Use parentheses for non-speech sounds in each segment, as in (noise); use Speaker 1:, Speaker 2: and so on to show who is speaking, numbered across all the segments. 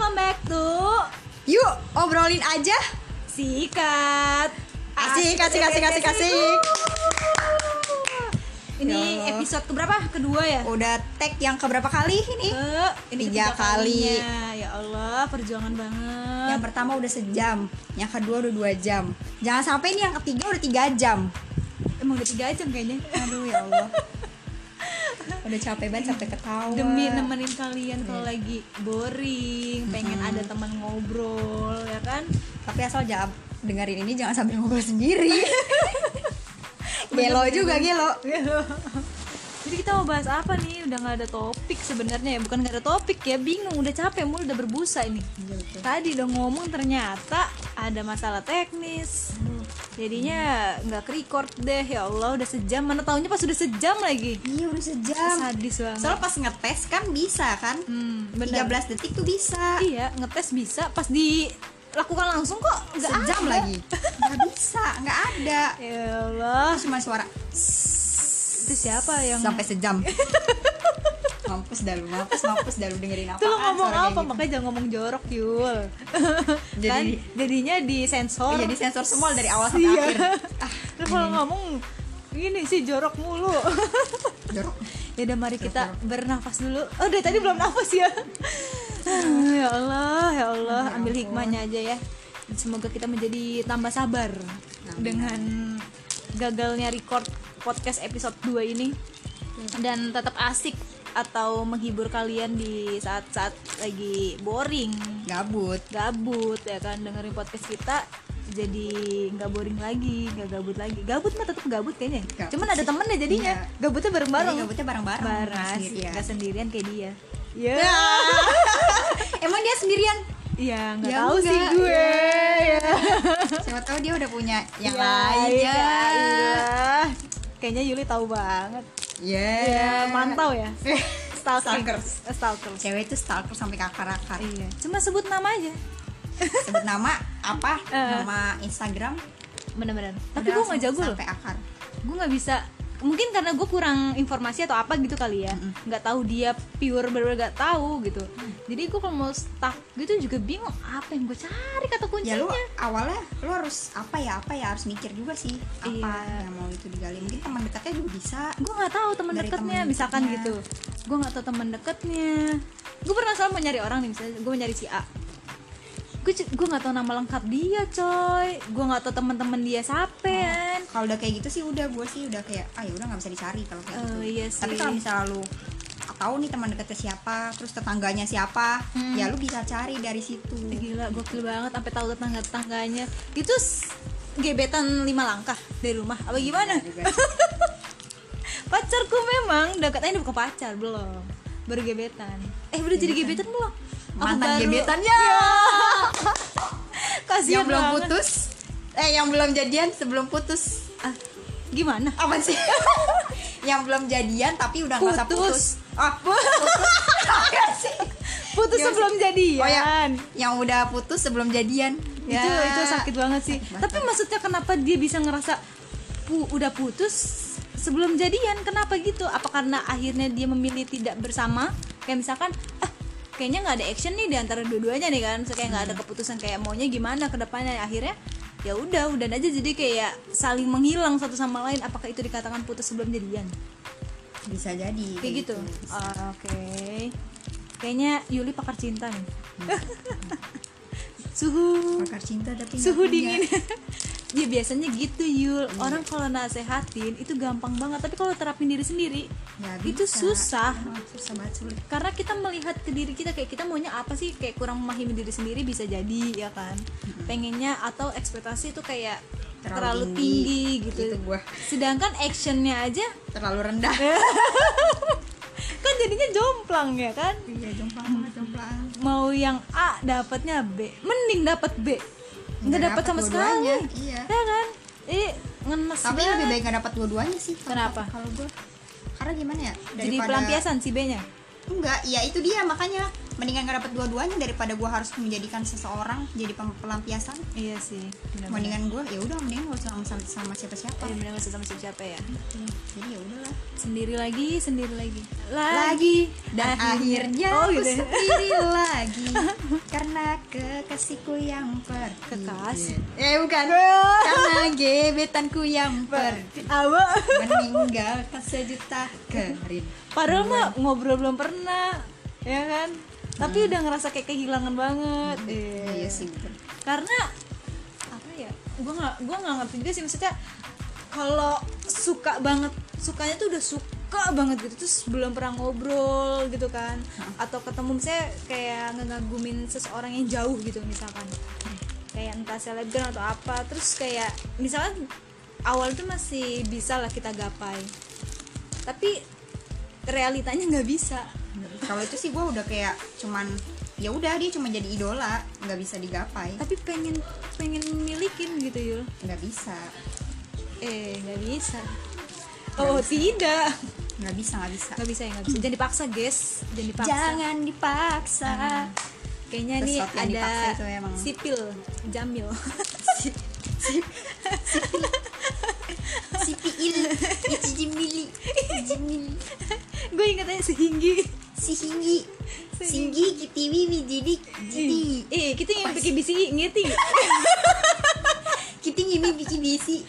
Speaker 1: satu
Speaker 2: Yuk, obrolin aja.
Speaker 1: sikat.
Speaker 2: Asik, asik, asik, asik, asik.
Speaker 1: Ini
Speaker 2: Ya Allah.
Speaker 1: episode keberapa? Kedua ya?
Speaker 2: Udah tag yang keberapa kali ini?
Speaker 1: Ke- ini
Speaker 2: Tiga
Speaker 1: ketiga
Speaker 2: kali.
Speaker 1: kalinya. Ya Allah, perjuangan banget.
Speaker 2: Yang pertama udah sejam, yang kedua udah dua jam. Jangan sampai ini yang ketiga udah tiga jam.
Speaker 1: Emang udah tiga jam kayaknya.
Speaker 2: Aduh ya Allah. Udah capek banget sampai ketawa.
Speaker 1: Demi nemenin kalian kalau lagi boring, pengen ada teman ngobrol, ya kan?
Speaker 2: Tapi asal jangan dengerin ini jangan sambil ngobrol sendiri. gelo juga gelo.
Speaker 1: Jadi kita mau bahas apa nih? Udah nggak ada topik sebenarnya ya, bukan nggak ada topik ya, bingung, udah capek, mulu udah berbusa ini. Tadi udah ngomong ternyata ada masalah teknis, jadinya nggak ke record deh ya Allah, udah sejam, mana tahunya pas udah sejam lagi.
Speaker 2: Iya udah sejam.
Speaker 1: Sadis banget.
Speaker 2: Soalnya pas ngetes kan bisa kan?
Speaker 1: Hmm, bener.
Speaker 2: 13 detik tuh bisa.
Speaker 1: Iya, ngetes bisa, pas dilakukan langsung kok nggak
Speaker 2: sejam
Speaker 1: ada.
Speaker 2: lagi. Gak bisa, nggak ada.
Speaker 1: Ya Allah,
Speaker 2: Cuma suara
Speaker 1: itu siapa yang
Speaker 2: sampai
Speaker 1: (laughs)
Speaker 2: sejam. mampus dah lu, mampus, mampus dah lu dengerin apa?
Speaker 1: Itu lo ngomong
Speaker 2: gitu.
Speaker 1: apa? Makanya jangan ngomong jorok, Yul. kan
Speaker 2: (laughs) Jadi-
Speaker 1: jadinya disensor.
Speaker 2: Iya, disensor semua dari awal sampai
Speaker 1: Iya.
Speaker 2: akhir. Hmm.
Speaker 1: Lo kalau ngomong ini sih jorok mulu. (laughs)
Speaker 2: Jorok.
Speaker 1: ya udah mari kita bernafas dulu. Oh, dari tadi belum nafas ya. Ah, ya Allah, ya Allah,
Speaker 2: Ya
Speaker 1: ambil
Speaker 2: ampun.
Speaker 1: hikmahnya aja ya. Semoga kita menjadi tambah sabar dengan gagalnya record podcast episode 2 ini
Speaker 2: Hmm.
Speaker 1: dan tetap asik atau menghibur kalian di saat-saat lagi boring
Speaker 2: Gabut.
Speaker 1: gabut ya kan dengerin podcast kita jadi nggak boring lagi nggak gabut lagi gabut mah tetap gabut kayaknya
Speaker 2: Gabut
Speaker 1: cuman ada
Speaker 2: sih.
Speaker 1: temennya jadinya
Speaker 2: Iya.
Speaker 1: gabutnya bareng bareng
Speaker 2: Jadi gabutnya bareng-bareng,
Speaker 1: bareng
Speaker 2: nggak
Speaker 1: asik.
Speaker 2: sendirian.
Speaker 1: nggak sendirian kayak dia ya
Speaker 2: (laughs) Emang dia sendirian?
Speaker 1: ya nggak
Speaker 2: Ya
Speaker 1: tahu sih
Speaker 2: enggak,
Speaker 1: gue ya
Speaker 2: Siapa tahu dia udah punya yang
Speaker 1: Ya,
Speaker 2: lain ya.
Speaker 1: iya. kayaknya Yuli tahu banget
Speaker 2: Iya.
Speaker 1: ya mantau ya
Speaker 2: Stalkers.
Speaker 1: Eh, stalkers
Speaker 2: (laughs) Cewek itu stalker sampai kakar-kakar.
Speaker 1: iya cuma sebut nama aja
Speaker 2: Sebut nama apa?
Speaker 1: Eh.
Speaker 2: Nama Instagram.
Speaker 1: bener-bener tapi gue
Speaker 2: udah langsung
Speaker 1: nggak jago loh
Speaker 2: Sampai akar.
Speaker 1: gue nggak bisa mungkin karena gue kurang informasi atau apa gitu kali ya nggak tahu dia pure bener nggak tahu gitu
Speaker 2: Mm.
Speaker 1: jadi gue kalau mau stuck gitu juga bingung apa yang gue cari kata
Speaker 2: Ya
Speaker 1: kuncinya
Speaker 2: lu awalnya lu harus apa ya apa ya harus mikir juga sih apa
Speaker 1: Iya.
Speaker 2: yang mau itu digali mungkin teman dekatnya juga bisa
Speaker 1: gue nggak tahu teman
Speaker 2: Dari
Speaker 1: deketnya
Speaker 2: temen
Speaker 1: misalkan
Speaker 2: deketnya.
Speaker 1: gitu gue nggak tahu teman deketnya gue pernah selalu mau nyari orang nih misalnya gue nyari si A gue gue nggak tahu nama lengkap dia coy gue nggak tahu teman-teman dia siapa
Speaker 2: kalau udah kayak gitu sih udah gue sih udah kayak ah ya udah nggak bisa dicari kalau kayak
Speaker 1: Oh,
Speaker 2: gitu
Speaker 1: iya
Speaker 2: tapi
Speaker 1: sih.
Speaker 2: kalau misalnya lu tahu nih teman dekatnya siapa terus tetangganya siapa
Speaker 1: Hmm.
Speaker 2: ya lu bisa cari dari situ
Speaker 1: Gila, gokil banget sampai tahu tetangga-tetangganya. Itu s- gebetan lima langkah dari rumah. Apa
Speaker 2: Iya,
Speaker 1: gimana?
Speaker 2: juga.
Speaker 1: Pacarku memang dekat ini bukan pacar, belum. Baru gebetan. Eh, udah jadi gebetan belum? (laughs) Aku
Speaker 2: mantan
Speaker 1: baru-
Speaker 2: gebetannya
Speaker 1: (laughs) Kasihan
Speaker 2: yang belum
Speaker 1: banget.
Speaker 2: putus eh yang belum jadian sebelum putus
Speaker 1: Ah, gimana?
Speaker 2: apa sih (laughs) yang belum jadian tapi udah nggak usah putus
Speaker 1: Putus.
Speaker 2: ah putus Apa sih?
Speaker 1: Putus
Speaker 2: Gimana sih?
Speaker 1: sebelum jadian.
Speaker 2: Oh ya, yang udah putus sebelum jadian.
Speaker 1: itu itu sakit banget sih
Speaker 2: Oh, ya. Sakit banget.
Speaker 1: tapi maksudnya kenapa dia bisa ngerasa pu udah putus sebelum jadian kenapa gitu apa karena akhirnya dia memilih tidak bersama kayak misalkan ah kayaknya nggak ada action nih di antara dua-duanya nih kan Maksudnya kayak nggak ada
Speaker 2: Hmm.
Speaker 1: keputusan kayak maunya gimana ke depannya akhirnya ya udah udah aja jadi kayak saling menghilang satu sama lain apakah itu dikatakan putus sebelum jadian
Speaker 2: Bisa jadi.
Speaker 1: kayak gitu Ah, oke kayaknya Yuli pakar cinta nih (laughs) suhu
Speaker 2: Pakar cinta tapi nggak
Speaker 1: suhu
Speaker 2: punya.
Speaker 1: dingin Iya, (laughs) ya biasanya gitu Yul orang kalau nasehatin itu gampang banget tapi kalau terapin diri sendiri
Speaker 2: Nggak
Speaker 1: itu
Speaker 2: Ya, bisa.
Speaker 1: susah Gitu.
Speaker 2: Emang susah banget sulit.
Speaker 1: karena kita melihat ke diri kita kayak kita maunya apa sih kayak kurang memahami diri sendiri bisa jadi ya kan pengennya atau ekspektasi itu kayak terlalu,
Speaker 2: Terlalu tinggi.
Speaker 1: tinggi, gitu
Speaker 2: Itu gua.
Speaker 1: sedangkan actionnya aja
Speaker 2: Terlalu rendah.
Speaker 1: Eh. kan jadinya jomplang ya kan
Speaker 2: Iya, jomplang banget, jomplang.
Speaker 1: mau yang A dapatnya B mending dapat B nggak
Speaker 2: Nggak
Speaker 1: dapat
Speaker 2: dapet
Speaker 1: sama sekali
Speaker 2: dua-duanya, iya.
Speaker 1: ya kan ini ngenes
Speaker 2: Tapi
Speaker 1: banget.
Speaker 2: lebih baik gak dapat dua-duanya sih. kalau-
Speaker 1: Kenapa?
Speaker 2: Kalau gue karena gimana ya?
Speaker 1: jadi pelampiasan si B-nya.
Speaker 2: Enggak, ya itu dia makanya mendingan gak dapet dua-duanya daripada gue harus menjadikan seseorang jadi pem- pelampiasan
Speaker 1: iya sih benar-benar
Speaker 2: mendingan gue ya udah mendingan gak usah sama, sama siapa-siapa
Speaker 1: Eh, benar-benar sama siapa ya
Speaker 2: jadi ya udahlah
Speaker 1: sendiri lagi sendiri lagi
Speaker 2: dan akhirnya
Speaker 1: oh
Speaker 2: aku
Speaker 1: gitu
Speaker 2: sendiri lagi karena kekasihku yang pergi
Speaker 1: Kekasih?
Speaker 2: eh bukan karena gebetanku yang pergi
Speaker 1: apa
Speaker 2: meninggalkan sejuta kerin
Speaker 1: (laughs) padahal mah ngobrol belum pernah ya kan tapi udah ngerasa kayak kehilangan banget Iya.
Speaker 2: Hmm. iya sih bener.
Speaker 1: karena apa ya gue nggak gua nggak ngerti juga sih maksudnya kalau suka banget sukanya tuh udah suka banget gitu terus belum pernah ngobrol gitu kan atau ketemu saya kayak ngegagumin seseorang yang jauh gitu misalkan kayak entah selebgram atau apa terus kayak misalkan awal tuh masih bisa lah kita gapai tapi realitanya nggak bisa
Speaker 2: kalau itu sih gue udah kayak cuman ya udah dia cuma jadi idola nggak bisa digapai
Speaker 1: tapi pengen pengen milikin gitu yul
Speaker 2: nggak bisa
Speaker 1: Eh, nggak bisa. Oh, tidak.
Speaker 2: nggak bisa nggak bisa
Speaker 1: Nggak bisa ya, nggak bisa. Jangan dipaksa, guys. Jangan dipaksa.
Speaker 2: dipaksa
Speaker 1: Kayaknya
Speaker 2: Terus
Speaker 1: nih
Speaker 2: waktu yang
Speaker 1: ada
Speaker 2: dipaksa itu emang-
Speaker 1: sipil, jamil. (laughs)
Speaker 2: si piil si jimili jimili
Speaker 1: Gue ingetnya sehinggi.
Speaker 2: si hinggi singgi kitiwi wijidi jadi
Speaker 1: Eh, kita yang pakai BCI ngerti nggak?
Speaker 2: kita ngimi bikin bisi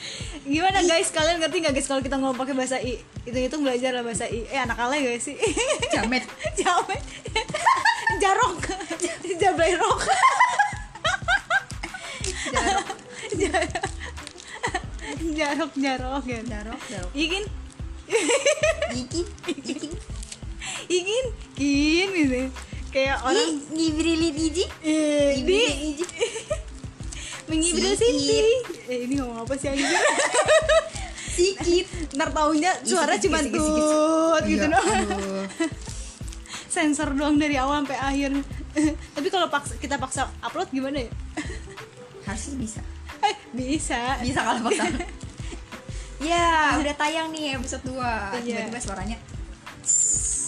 Speaker 1: Gimana guys? Kalian ngerti nggak guys kalau kita ngomong pakai bahasa I? Hitung-hitung belajar lah bahasa I. Eh, anak alay guys sih? (laughs)
Speaker 2: jamet
Speaker 1: Jamet. (laughs) Jarok. (laughs) Jablairok.
Speaker 2: jarok
Speaker 1: Jarok. (laughs) Jarok, jarok ya.
Speaker 2: jarok jarok
Speaker 1: Ikin,
Speaker 2: gigit gigit
Speaker 1: ikin, kin gitu. Kayak orang
Speaker 2: Ih, ngibrilin iji
Speaker 1: Eh, di
Speaker 2: ngibrilin iji
Speaker 1: mengibril
Speaker 2: Sikit.
Speaker 1: Siti. Eh, ini ngomong apa sih
Speaker 2: (laughs)
Speaker 1: anjir?
Speaker 2: sikit
Speaker 1: Ntar taunya suara
Speaker 2: sikit,
Speaker 1: cuma
Speaker 2: sikit, sikit, sikit.
Speaker 1: tut gitu
Speaker 2: Iya,
Speaker 1: doang. (laughs)
Speaker 2: aduh.
Speaker 1: Sensor doang dari awal sampai akhir. (laughs) Tapi kalau paksa, kita paksa upload gimana ya?
Speaker 2: harusnya bisa
Speaker 1: Eh, bisa.
Speaker 2: bisa kalau paksa (laughs) ya udah tayang nih episode 2
Speaker 1: Iya.
Speaker 2: tiba-tiba suaranya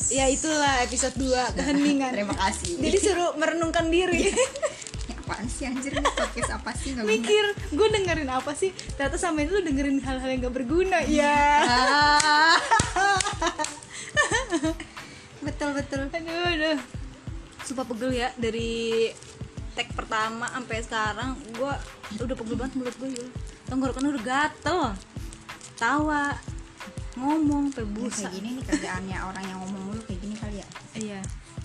Speaker 1: Ya itulah episode (laughs) 2 keheningan.
Speaker 2: terima kasih
Speaker 1: Jadi suruh merenungkan diri.
Speaker 2: Ini apaan sih anjir ini podcast apa sih nggak guna
Speaker 1: (laughs) Mikir, gue dengerin apa sih? Ternyata sama itu lu dengerin hal-hal yang gak berguna. Ya.
Speaker 2: Ah. (laughs) betul betul
Speaker 1: Aduh, aduh. Sumpah pegel ya dari tag pertama sampai sekarang gua udah pegel banget mulut gue yul. Tenggorokan udah gatel. Tawa, ngomong sampai busa.
Speaker 2: kayak gini nih kerjaannya orang yang ngomong mulu kayak gini kali ya
Speaker 1: Iya.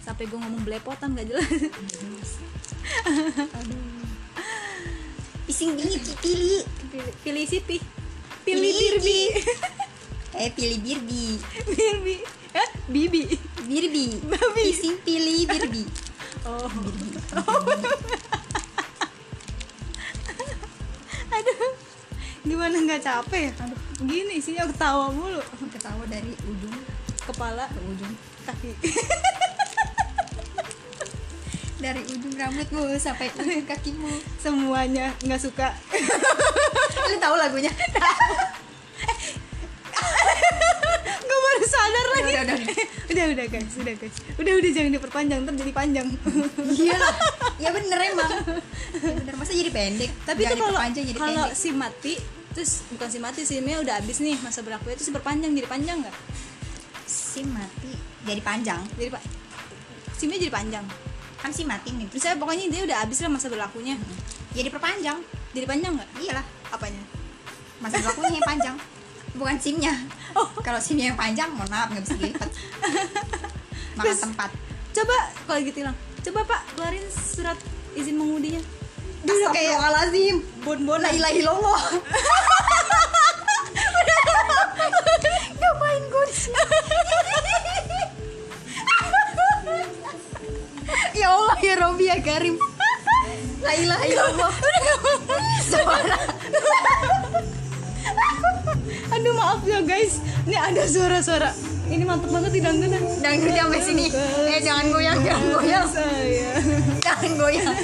Speaker 1: Sampai gue ngomong belepotan gak jelas. (laughs)
Speaker 2: pising bingit pilih
Speaker 1: Pilih- Pilih sipi. Pilih birbi.
Speaker 2: (laughs) eh pilih birbi
Speaker 1: (laughs) birbi. Eh, bibi.
Speaker 2: birbi
Speaker 1: Babi.
Speaker 2: pising pilih birbi
Speaker 1: Oh. (laughs) Gimana nggak capek ya? Gini isinya ketawa mulu.
Speaker 2: (laughs) ketawa dari ujung
Speaker 1: Kepala,
Speaker 2: ke ujung
Speaker 1: kaki.
Speaker 2: dari ujung rambutmu sampai (laughs) ujung kakimu
Speaker 1: semuanya nggak suka
Speaker 2: lu tahu lagunya
Speaker 1: gue baru sadar lagi
Speaker 2: Udah, udah,
Speaker 1: (laughs) udah udah guys udah guys udah udah jangan diperpanjang ntar jadi panjang (laughs)
Speaker 2: (laughs) iya lah ya bener emang ya bener masa jadi pendek
Speaker 1: tapi itu
Speaker 2: Jangan
Speaker 1: kalau
Speaker 2: diperpanjang jadi
Speaker 1: kalau
Speaker 2: pendek
Speaker 1: si mati terus bukan si mati si Mia udah abis nih masa berlaku itu berpanjang jadi panjang nggak
Speaker 2: si mati jadi panjang
Speaker 1: jadi pak si Mia jadi panjang
Speaker 2: kan si mati nih
Speaker 1: terus saya pokoknya dia udah abis lah masa berlakunya
Speaker 2: jadi perpanjang Iya
Speaker 1: jadi panjang nggak
Speaker 2: iyalah
Speaker 1: apanya
Speaker 2: masa berlakunya yang panjang bukan simnya kalau simnya yang panjang mohon maaf nggak bisa (laughs) dilipat makan
Speaker 1: Terus-
Speaker 2: tempat
Speaker 1: coba kalau gitu hilang coba pak keluarin surat izin mengudinya
Speaker 2: dia udah kayak alazim
Speaker 1: bon bon
Speaker 2: la ilaha illallah (laughs) ngapain gue di sini? ya Allah ya Robi ya Karim la ilaha illallah suara
Speaker 1: aduh maaf ya guys ini ada suara-suara ini mantep banget di ya. dangdutan
Speaker 2: dangdut sampai sini eh jangan goyang jangan goyang
Speaker 1: saya
Speaker 2: jangan goyang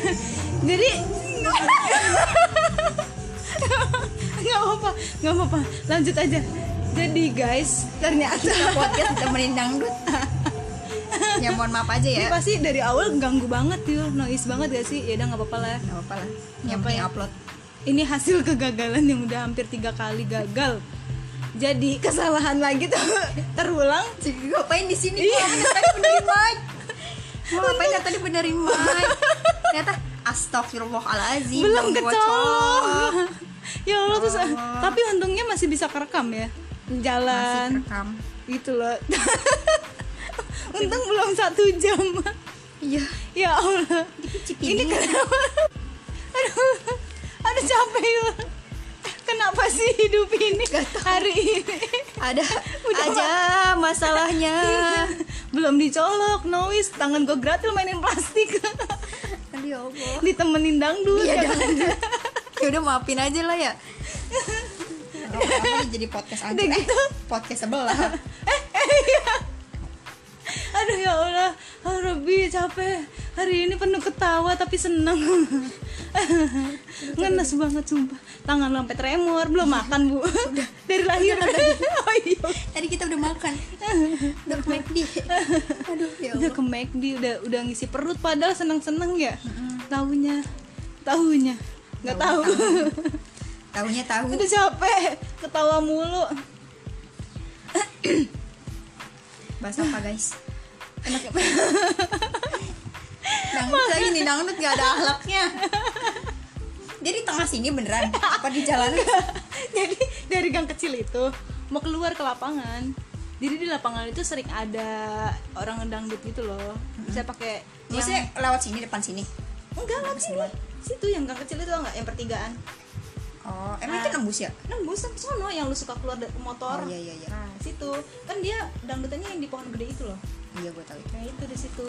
Speaker 1: jadi (laughs) nggak apa-apa nggak apa-apa lanjut aja jadi guys ternyata
Speaker 2: podcast temenin dangdut ya mohon maaf aja ya
Speaker 1: Ini pasti dari awal ganggu banget tuh, noise banget gak sih? Ya udah nggak apa-apa lah.
Speaker 2: nggak apa-apa lah yang
Speaker 1: Apa
Speaker 2: penting
Speaker 1: ya?
Speaker 2: upload
Speaker 1: Ini hasil kegagalan yang udah hampir tiga kali gagal. Jadi kesalahan lagi tuh (laughs) terulang.
Speaker 2: Cik, ngapain di sini?
Speaker 1: Iya.
Speaker 2: Gua ngapain tadi benerin mic? Gua ngapain ya tadi benerin mic? Ternyata astagfirullahalazim
Speaker 1: belum
Speaker 2: gua
Speaker 1: kecolok. ya Allah terus
Speaker 2: Allah.
Speaker 1: tapi untungnya masih bisa kerekam ya.
Speaker 2: Masih
Speaker 1: Jalan
Speaker 2: rekam.
Speaker 1: gitu loh. (laughs) Untung belum satu jam.
Speaker 2: Iya.
Speaker 1: ya Allah. Ini
Speaker 2: Cipilin.
Speaker 1: kenapa? Aduh, aduh capek yuk. Kenapa sih hidup ini hari ini?
Speaker 2: ada
Speaker 1: Udah
Speaker 2: aja masalahnya.
Speaker 1: (laughs) Belum dicolok, noise, tangan gue gratis mainin
Speaker 2: (laughs)
Speaker 1: plastik.
Speaker 2: Aduh ya Allah.
Speaker 1: Ditemenin dangdut.
Speaker 2: Iya
Speaker 1: ya
Speaker 2: dah.
Speaker 1: kan?
Speaker 2: Ya udah maafin aja lah ya. Oh, apa jadi podcast aja
Speaker 1: Udah
Speaker 2: Eh,
Speaker 1: gitu.
Speaker 2: podcast sebelah
Speaker 1: Aduh ya Allah, oh, Robi capek. Hari ini penuh ketawa tapi seneng. Ngenes banget sumpah. Tangan lu sampai tremor, belum makan, Bu. Dari lahir. (laughs) Oh iya.
Speaker 2: tadi kita udah makan
Speaker 1: (laughs)
Speaker 2: udah ke McD aduh ya
Speaker 1: udah
Speaker 2: Allah
Speaker 1: ke McD udah udah ngisi perut padahal seneng-seneng ya tahunya tahunya
Speaker 2: Ya
Speaker 1: nggak tahu
Speaker 2: tahunya tahu
Speaker 1: (laughs) udah capek ketawa mulu
Speaker 2: bahasa apa guys (laughs) enak ya dangdut lagi nih dangdut gak ada ahlaknya dia di tengah sini beneran apa di jalan
Speaker 1: (laughs) jadi dari gang kecil itu mau keluar ke lapangan jadi di lapangan itu sering ada orang dangdut gitu loh
Speaker 2: Hmm.
Speaker 1: bisa pakai
Speaker 2: maksudnya lewat sini depan sini
Speaker 1: enggak enggak sini situ yang gang kecil itu tau nggak yang pertigaan
Speaker 2: oh emang itu
Speaker 1: Ah.
Speaker 2: nembus ya
Speaker 1: nembus sampai sono yang lu suka keluar dari motor
Speaker 2: Oh, iya, iya, iya.
Speaker 1: nah situ kan dia dangdutannya yang di pohon gede itu loh
Speaker 2: iya gue tahu itu
Speaker 1: nah itu di situ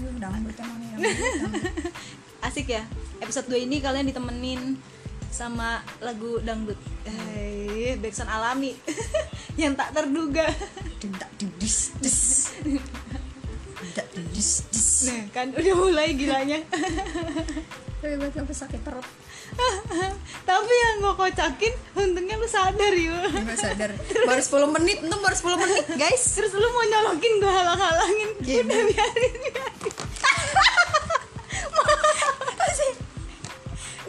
Speaker 2: Aduh, dangdut emang nih dangdut, dangdut.
Speaker 1: (laughs)
Speaker 2: Hmm.
Speaker 1: Asik ya. Episode 2 ini kalian ditemenin sama lagu dangdut. Eh, backsound alami. (laughs) Yang tak terduga.
Speaker 2: (laughs) Dendak, dudis dis Dendak, dudis dis
Speaker 1: Nah, kan udah mulai gilanya. (laughs)
Speaker 2: tapi gue sampai sakit perut
Speaker 1: Tapi yang gue kocakin, untungnya lu sadar yuk.
Speaker 2: gue sadar baru 10 menit untung baru 10 menit guys
Speaker 1: Terus lu mau nyolokin gue halang-halangin.
Speaker 2: Gini.
Speaker 1: Udah biarin, (laughs) biarin.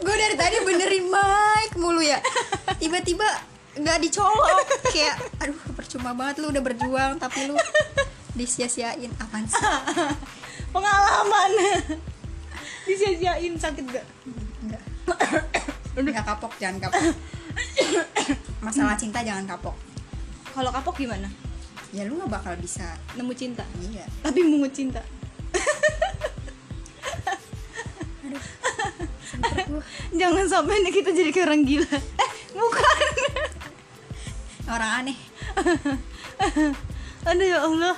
Speaker 2: gue dari tadi benerin mic mulu ya tiba-tiba nggak dicolok kayak aduh percuma banget lu udah berjuang tapi lu disia-siain apaan sih
Speaker 1: Pengalaman. (laughs) Disia-siain sakit gak?
Speaker 2: enggak enggak kapok jangan kapok masalah cinta jangan kapok
Speaker 1: Kalau kapok gimana?
Speaker 2: ya lu nggak bakal bisa
Speaker 1: Nemu cinta.
Speaker 2: iya
Speaker 1: Tapi mungut cinta. (laughs)
Speaker 2: Sempet gua.
Speaker 1: Jangan sampai nih kita jadi kayak orang gila. Eh, (laughs) bukan.
Speaker 2: orang aneh
Speaker 1: (laughs) Aduh ya Allah,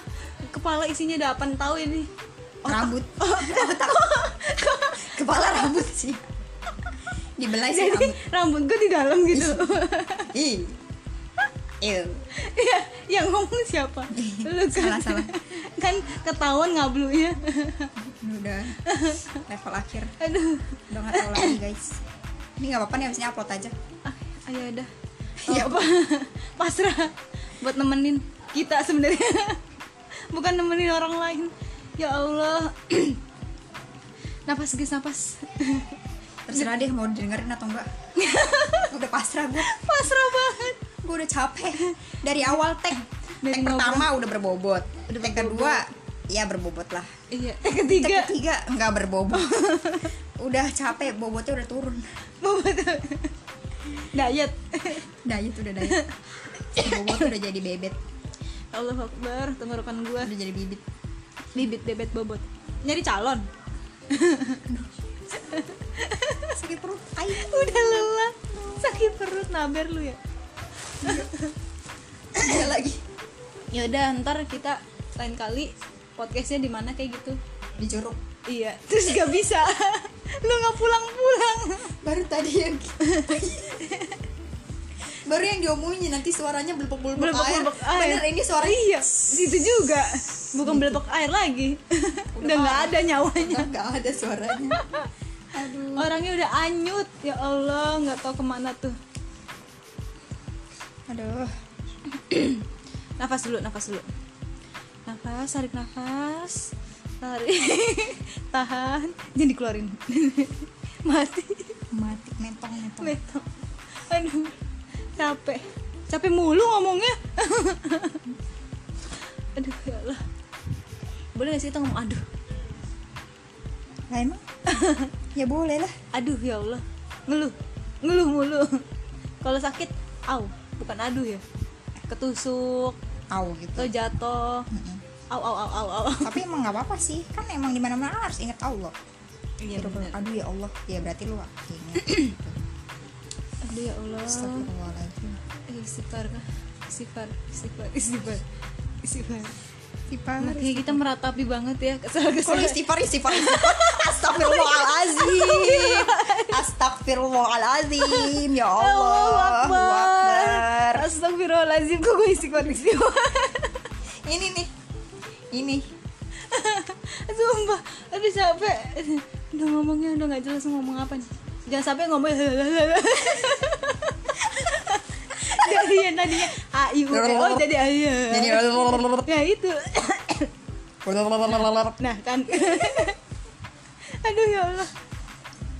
Speaker 1: kepala isinya ada apa tahu ini.
Speaker 2: rambut Otak. kepala rambut sih dibelah sih
Speaker 1: Jadi
Speaker 2: rambut
Speaker 1: rambut gue di dalam gitu.
Speaker 2: ih Ew.
Speaker 1: (laughs) Iya, yang ngomong siapa? Lu kan.
Speaker 2: Salah, salah.
Speaker 1: (laughs) Kan ketahuan iya. ngablunya.
Speaker 2: Ini udah level akhir
Speaker 1: Aduh.
Speaker 2: udah nggak tahu lagi guys ini nggak apa-apa nih abisnya upload aja
Speaker 1: Ah, Ayo dah.
Speaker 2: Ya,
Speaker 1: apa? (laughs) Pasrah buat nemenin kita sebenarnya. (laughs) Bukan nemenin orang lain. Ya Allah. (clears throat) napas guys, napas. (laughs)
Speaker 2: terserah deh mau dengerin atau enggak udah pasrah gue
Speaker 1: Pasrah banget.
Speaker 2: gue udah capek dari awal tag
Speaker 1: Dari
Speaker 2: tag pertama udah berbobot
Speaker 1: Udah
Speaker 2: tag kedua ya berbobot lah
Speaker 1: Iya, ketiga.
Speaker 2: tag ketiga nggak
Speaker 1: (laughs)
Speaker 2: berbobot udah capek bobotnya udah turun
Speaker 1: Diet. (laughs)
Speaker 2: diet udah diet bobot udah jadi bebet
Speaker 1: Allah Akbar, tenggorokan gue.
Speaker 2: udah jadi bibit
Speaker 1: bibit bebet bobot nyari calon (laughs)
Speaker 2: sakit perut ayo
Speaker 1: udah lelah sakit perut naber lu ya
Speaker 2: Iya lagi
Speaker 1: yaudah ntar kita lain kali podcastnya di mana kayak gitu
Speaker 2: di jeruk
Speaker 1: iya (laughs) terus gak bisa lu nggak pulang pulang
Speaker 2: baru tadi
Speaker 1: (laughs)
Speaker 2: yang baru yang diomongin nanti suaranya belepek belepek air.
Speaker 1: Belepek-belepek air.
Speaker 2: bener ini suara
Speaker 1: iya gitu juga bukan belepok air lagi udah nggak ada nyawanya
Speaker 2: Enggak, enggak ada
Speaker 1: (laughs)
Speaker 2: suaranya aduh
Speaker 1: orangnya udah anyut ya Allah nggak tahu kemana tuh
Speaker 2: aduh
Speaker 1: nafas dulu nafas dulu nafas tarik nafas tarik (laughs) tahan jangan dikeluarin (laughs) mati
Speaker 2: mati mentong mentong
Speaker 1: Metong. aduh capek capek mulu ngomongnya (laughs) aduh ya Allah boleh gak sih kita ngomong aduh
Speaker 2: lah
Speaker 1: (laughs)
Speaker 2: emang ya boleh lah
Speaker 1: aduh ya Allah ngeluh ngeluh mulu (laughs) kalau sakit au bukan aduh ya ketusuk
Speaker 2: aw
Speaker 1: atau
Speaker 2: gitu
Speaker 1: jatuh
Speaker 2: Mm-mm.
Speaker 1: au au au au au (laughs)
Speaker 2: tapi emang nggak apa-apa sih kan emang dimana mana harus ingat Allah
Speaker 1: iya
Speaker 2: Terus
Speaker 1: bener.
Speaker 2: aduh ya Allah ya berarti lu
Speaker 1: (clears throat)
Speaker 2: ingat gitu.
Speaker 1: aduh ya Allah
Speaker 2: Astagfirullahaladzim
Speaker 1: Eh, istighfar kah? istighfar istighfar istighfar istighfar
Speaker 2: istighfar
Speaker 1: Makanya kita meratapi banget ya kesalahan
Speaker 2: kalau
Speaker 1: kesalahan
Speaker 2: istighfar (laughs) istighfar istighfar Astagfirullahaladzim Astagfirullahaladzim Ya Allah
Speaker 1: Allahu
Speaker 2: Allahu
Speaker 1: Akbar
Speaker 2: Akbar.
Speaker 1: Astagfirullahaladzim Kok gue istighfar istighfar (laughs)
Speaker 2: Ini nih Ini
Speaker 1: Sumpah Aduh capek Udah ngomongnya udah gak jelas ngomong apa nih Jangan sampai ngomong (laughs) Jadi yang tadinya A, I, U, E, O jadi A, I, E.
Speaker 2: (laughs) Jadi
Speaker 1: Ya itu Nah kan (laughs) Aduh ya Allah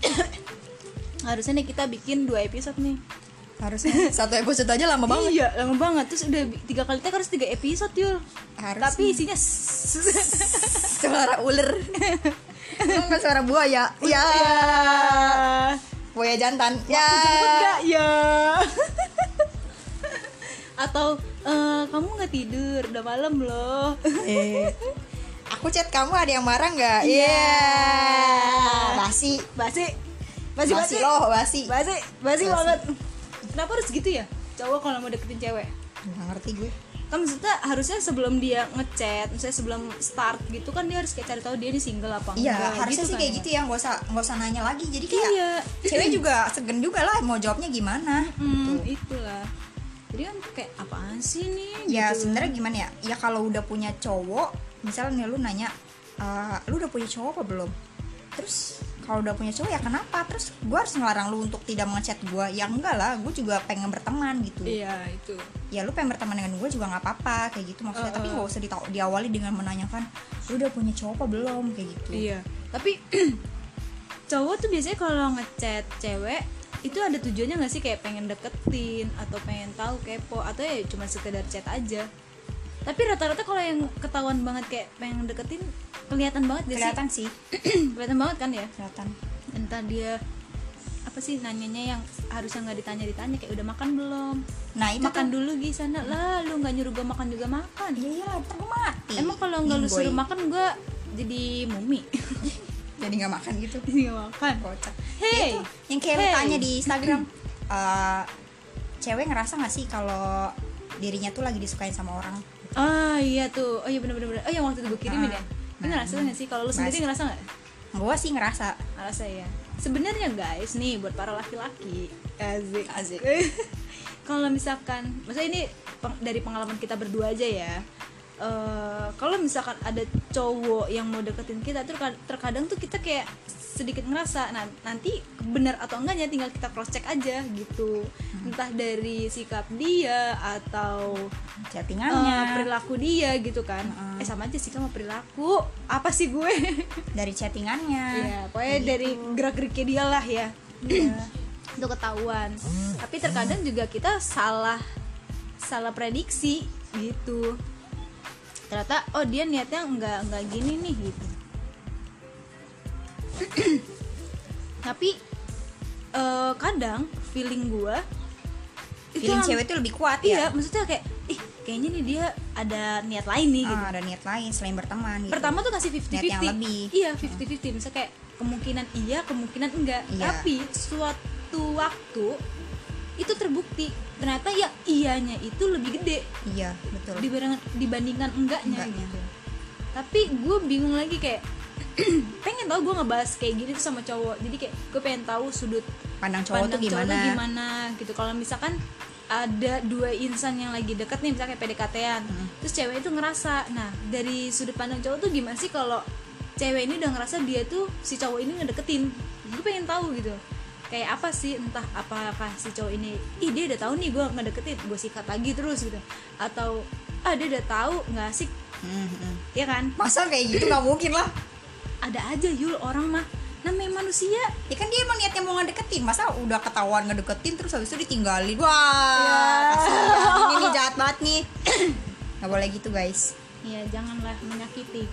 Speaker 1: (coughs) Harusnya nih kita bikin dua episode nih
Speaker 2: Harusnya satu episode aja lama (laughs) banget
Speaker 1: Iya lama banget Terus udah bi- tiga kali tag harus tiga episode yul
Speaker 2: Harus
Speaker 1: Tapi
Speaker 2: (laughs)
Speaker 1: isinya (laughs) s-
Speaker 2: Suara ular Enggak suara buaya Ya
Speaker 1: Ya.
Speaker 2: Buaya jantan Ya
Speaker 1: jemput gak ya (laughs) atau eh, kamu nggak tidur udah malam loh (laughs)
Speaker 2: Eh, Aku chat kamu ada yang marah nggak? Iya Basi
Speaker 1: basi basi basi
Speaker 2: Basi loh basi
Speaker 1: basi basi
Speaker 2: Basi.
Speaker 1: banget kenapa harus gitu ya cowok kalau mau deketin cewek
Speaker 2: Nggak ngerti gue
Speaker 1: kan maksudnya harusnya sebelum dia ngechat misalnya sebelum start gitu kan dia harus kayak cari tahu dia ini single apa
Speaker 2: Iya,
Speaker 1: enggak,
Speaker 2: harusnya sih
Speaker 1: kan
Speaker 2: kayak
Speaker 1: ya.
Speaker 2: gitu ya, nggak usah nggak usah nanya lagi. Jadi kayak
Speaker 1: Iya.
Speaker 2: cewek juga segen juga lah mau jawabnya gimana.
Speaker 1: hmm, itulah jadi kan kayak apaan sih nih
Speaker 2: Ya
Speaker 1: gitu.
Speaker 2: sebenarnya gimana ya? Ya kalau udah punya cowok, misalnya lu nanya, "Eh, lu udah punya cowok apa belum? Terus kalau udah punya cowok ya kenapa? Terus gue harus ngelarang lu untuk tidak mengechat gue? Ya enggak lah, gue juga pengen berteman gitu.
Speaker 1: iya itu
Speaker 2: Ya lu pengen berteman dengan gue juga nggak apa-apa kayak gitu maksudnya.
Speaker 1: Eh,
Speaker 2: Tapi
Speaker 1: eh.
Speaker 2: nggak usah ditau- diawali dengan menanyakan, lu udah punya cowok apa belum kayak gitu.
Speaker 1: Iya. Tapi (clears throat) cowok tuh biasanya kalau ngechat cewek itu ada tujuannya nggak sih kayak pengen deketin atau pengen tahu kepo atau ya cuma sekedar chat aja. Tapi rata-rata kalau yang ketahuan banget kayak pengen deketin kelihatan banget gak
Speaker 2: Kelihatan sih,
Speaker 1: sih? (clears throat) kelihatan banget kan ya?
Speaker 2: kelihatan.
Speaker 1: Entah dia apa sih nanyanya yang harusnya nggak ditanya ditanya kayak udah makan belum?
Speaker 2: Nah itu
Speaker 1: makan
Speaker 2: tuh-
Speaker 1: dulu di sana lah, lu nggak nyuruh gue makan juga makan.
Speaker 2: Iya iya ntar gue mati.
Speaker 1: Emang kalau nggak lu
Speaker 2: Minggoy.
Speaker 1: suruh makan gue jadi mumi, (laughs)
Speaker 2: jadi nggak makan gitu
Speaker 1: jadi nggak makan.
Speaker 2: kocak
Speaker 1: Hey,
Speaker 2: Itu yang kayak lu
Speaker 1: Hey.
Speaker 2: tanya di Instagram eh, cewek ngerasa nggak sih kalau dirinya tuh lagi disukain sama orang
Speaker 1: Ah iya tuh. Oh iya bener-bener. bener. Oh yang waktu itu gue kirimin
Speaker 2: Ah,
Speaker 1: ya. Lu ngerasa nggak sih? Kalau lu sendiri
Speaker 2: Mas.
Speaker 1: ngerasa nggak?
Speaker 2: gue sih ngerasa
Speaker 1: Ngerasa ya. Sebenarnya guys nih buat para laki-laki. Asik. (laughs)
Speaker 2: Asik.
Speaker 1: kalau misalkan, maksudnya ini peng- dari pengalaman kita berdua aja ya. Eh, kalau misalkan ada cowok yang mau deketin kita tuh terkad- terkadang tuh kita kayak sedikit ngerasa nah, nanti benar atau enggaknya tinggal kita cross check aja gitu entah dari sikap dia atau Eh,
Speaker 2: chattingannya
Speaker 1: perilaku dia gitu kan
Speaker 2: Heeh.
Speaker 1: eh sama aja sih sama perilaku apa sih gue (laughs)
Speaker 2: dari chattingannya gitu.
Speaker 1: ya pokoknya dari gerak geriknya dia lah ya
Speaker 2: Iya.
Speaker 1: itu ketahuan tapi terkadang juga kita salah salah prediksi gitu ternyata oh dia niatnya nggak nggak gini nih gitu (clears throat) tapi eh, kadang feeling gue itu
Speaker 2: feeling
Speaker 1: yang-
Speaker 2: cewek tuh lebih kuat
Speaker 1: iya
Speaker 2: ya
Speaker 1: maksudnya kayak ih kayaknya nih dia ada niat lain nih gitu
Speaker 2: Ah, ada niat lain selain berteman gitu.
Speaker 1: pertama tuh kasih 50-50
Speaker 2: Niat yang lebih. Hmm.
Speaker 1: iya 50-50 misalnya kayak kemungkinan iya kemungkinan enggak
Speaker 2: Iya.
Speaker 1: tapi suatu waktu itu terbukti ternyata ya iyanya itu lebih gede
Speaker 2: iya betul
Speaker 1: dibandingkan dibandingkan enggaknya
Speaker 2: Enggaknya.
Speaker 1: gitu tapi gue bingung lagi kayak (clears throat) pengen tahu gue ngebahas kayak gini tuh sama cowok jadi kayak gue pengen tahu sudut
Speaker 2: pandang cowok
Speaker 1: pandang
Speaker 2: tuh gimana,
Speaker 1: cowok tuh gimana gitu kalau misalkan ada dua insan yang lagi deket nih misalnya kayak PDKT-an
Speaker 2: Hmm.
Speaker 1: terus cewek itu ngerasa nah dari sudut pandang cowok tuh gimana sih kalau cewek ini udah ngerasa dia tuh si cowok ini ngedeketin gue pengen tahu gitu kayak apa sih entah apakah si cowok ini ih dia udah tahu nih gue ngedeketin gue sikat lagi terus gitu atau ah dia udah tahu nggak asik
Speaker 2: Hmm, hmm.
Speaker 1: ya kan
Speaker 2: masa kayak gitu nggak mungkin lah
Speaker 1: ada aja yul orang mah namanya manusia
Speaker 2: ya kan dia emang niatnya mau ngedeketin masa udah ketahuan ngedeketin terus habis itu ditinggalin wah
Speaker 1: Iya.
Speaker 2: kasihan. ini nih jahat banget nih (clears throat) nggak boleh gitu guys
Speaker 1: ya janganlah menyakiti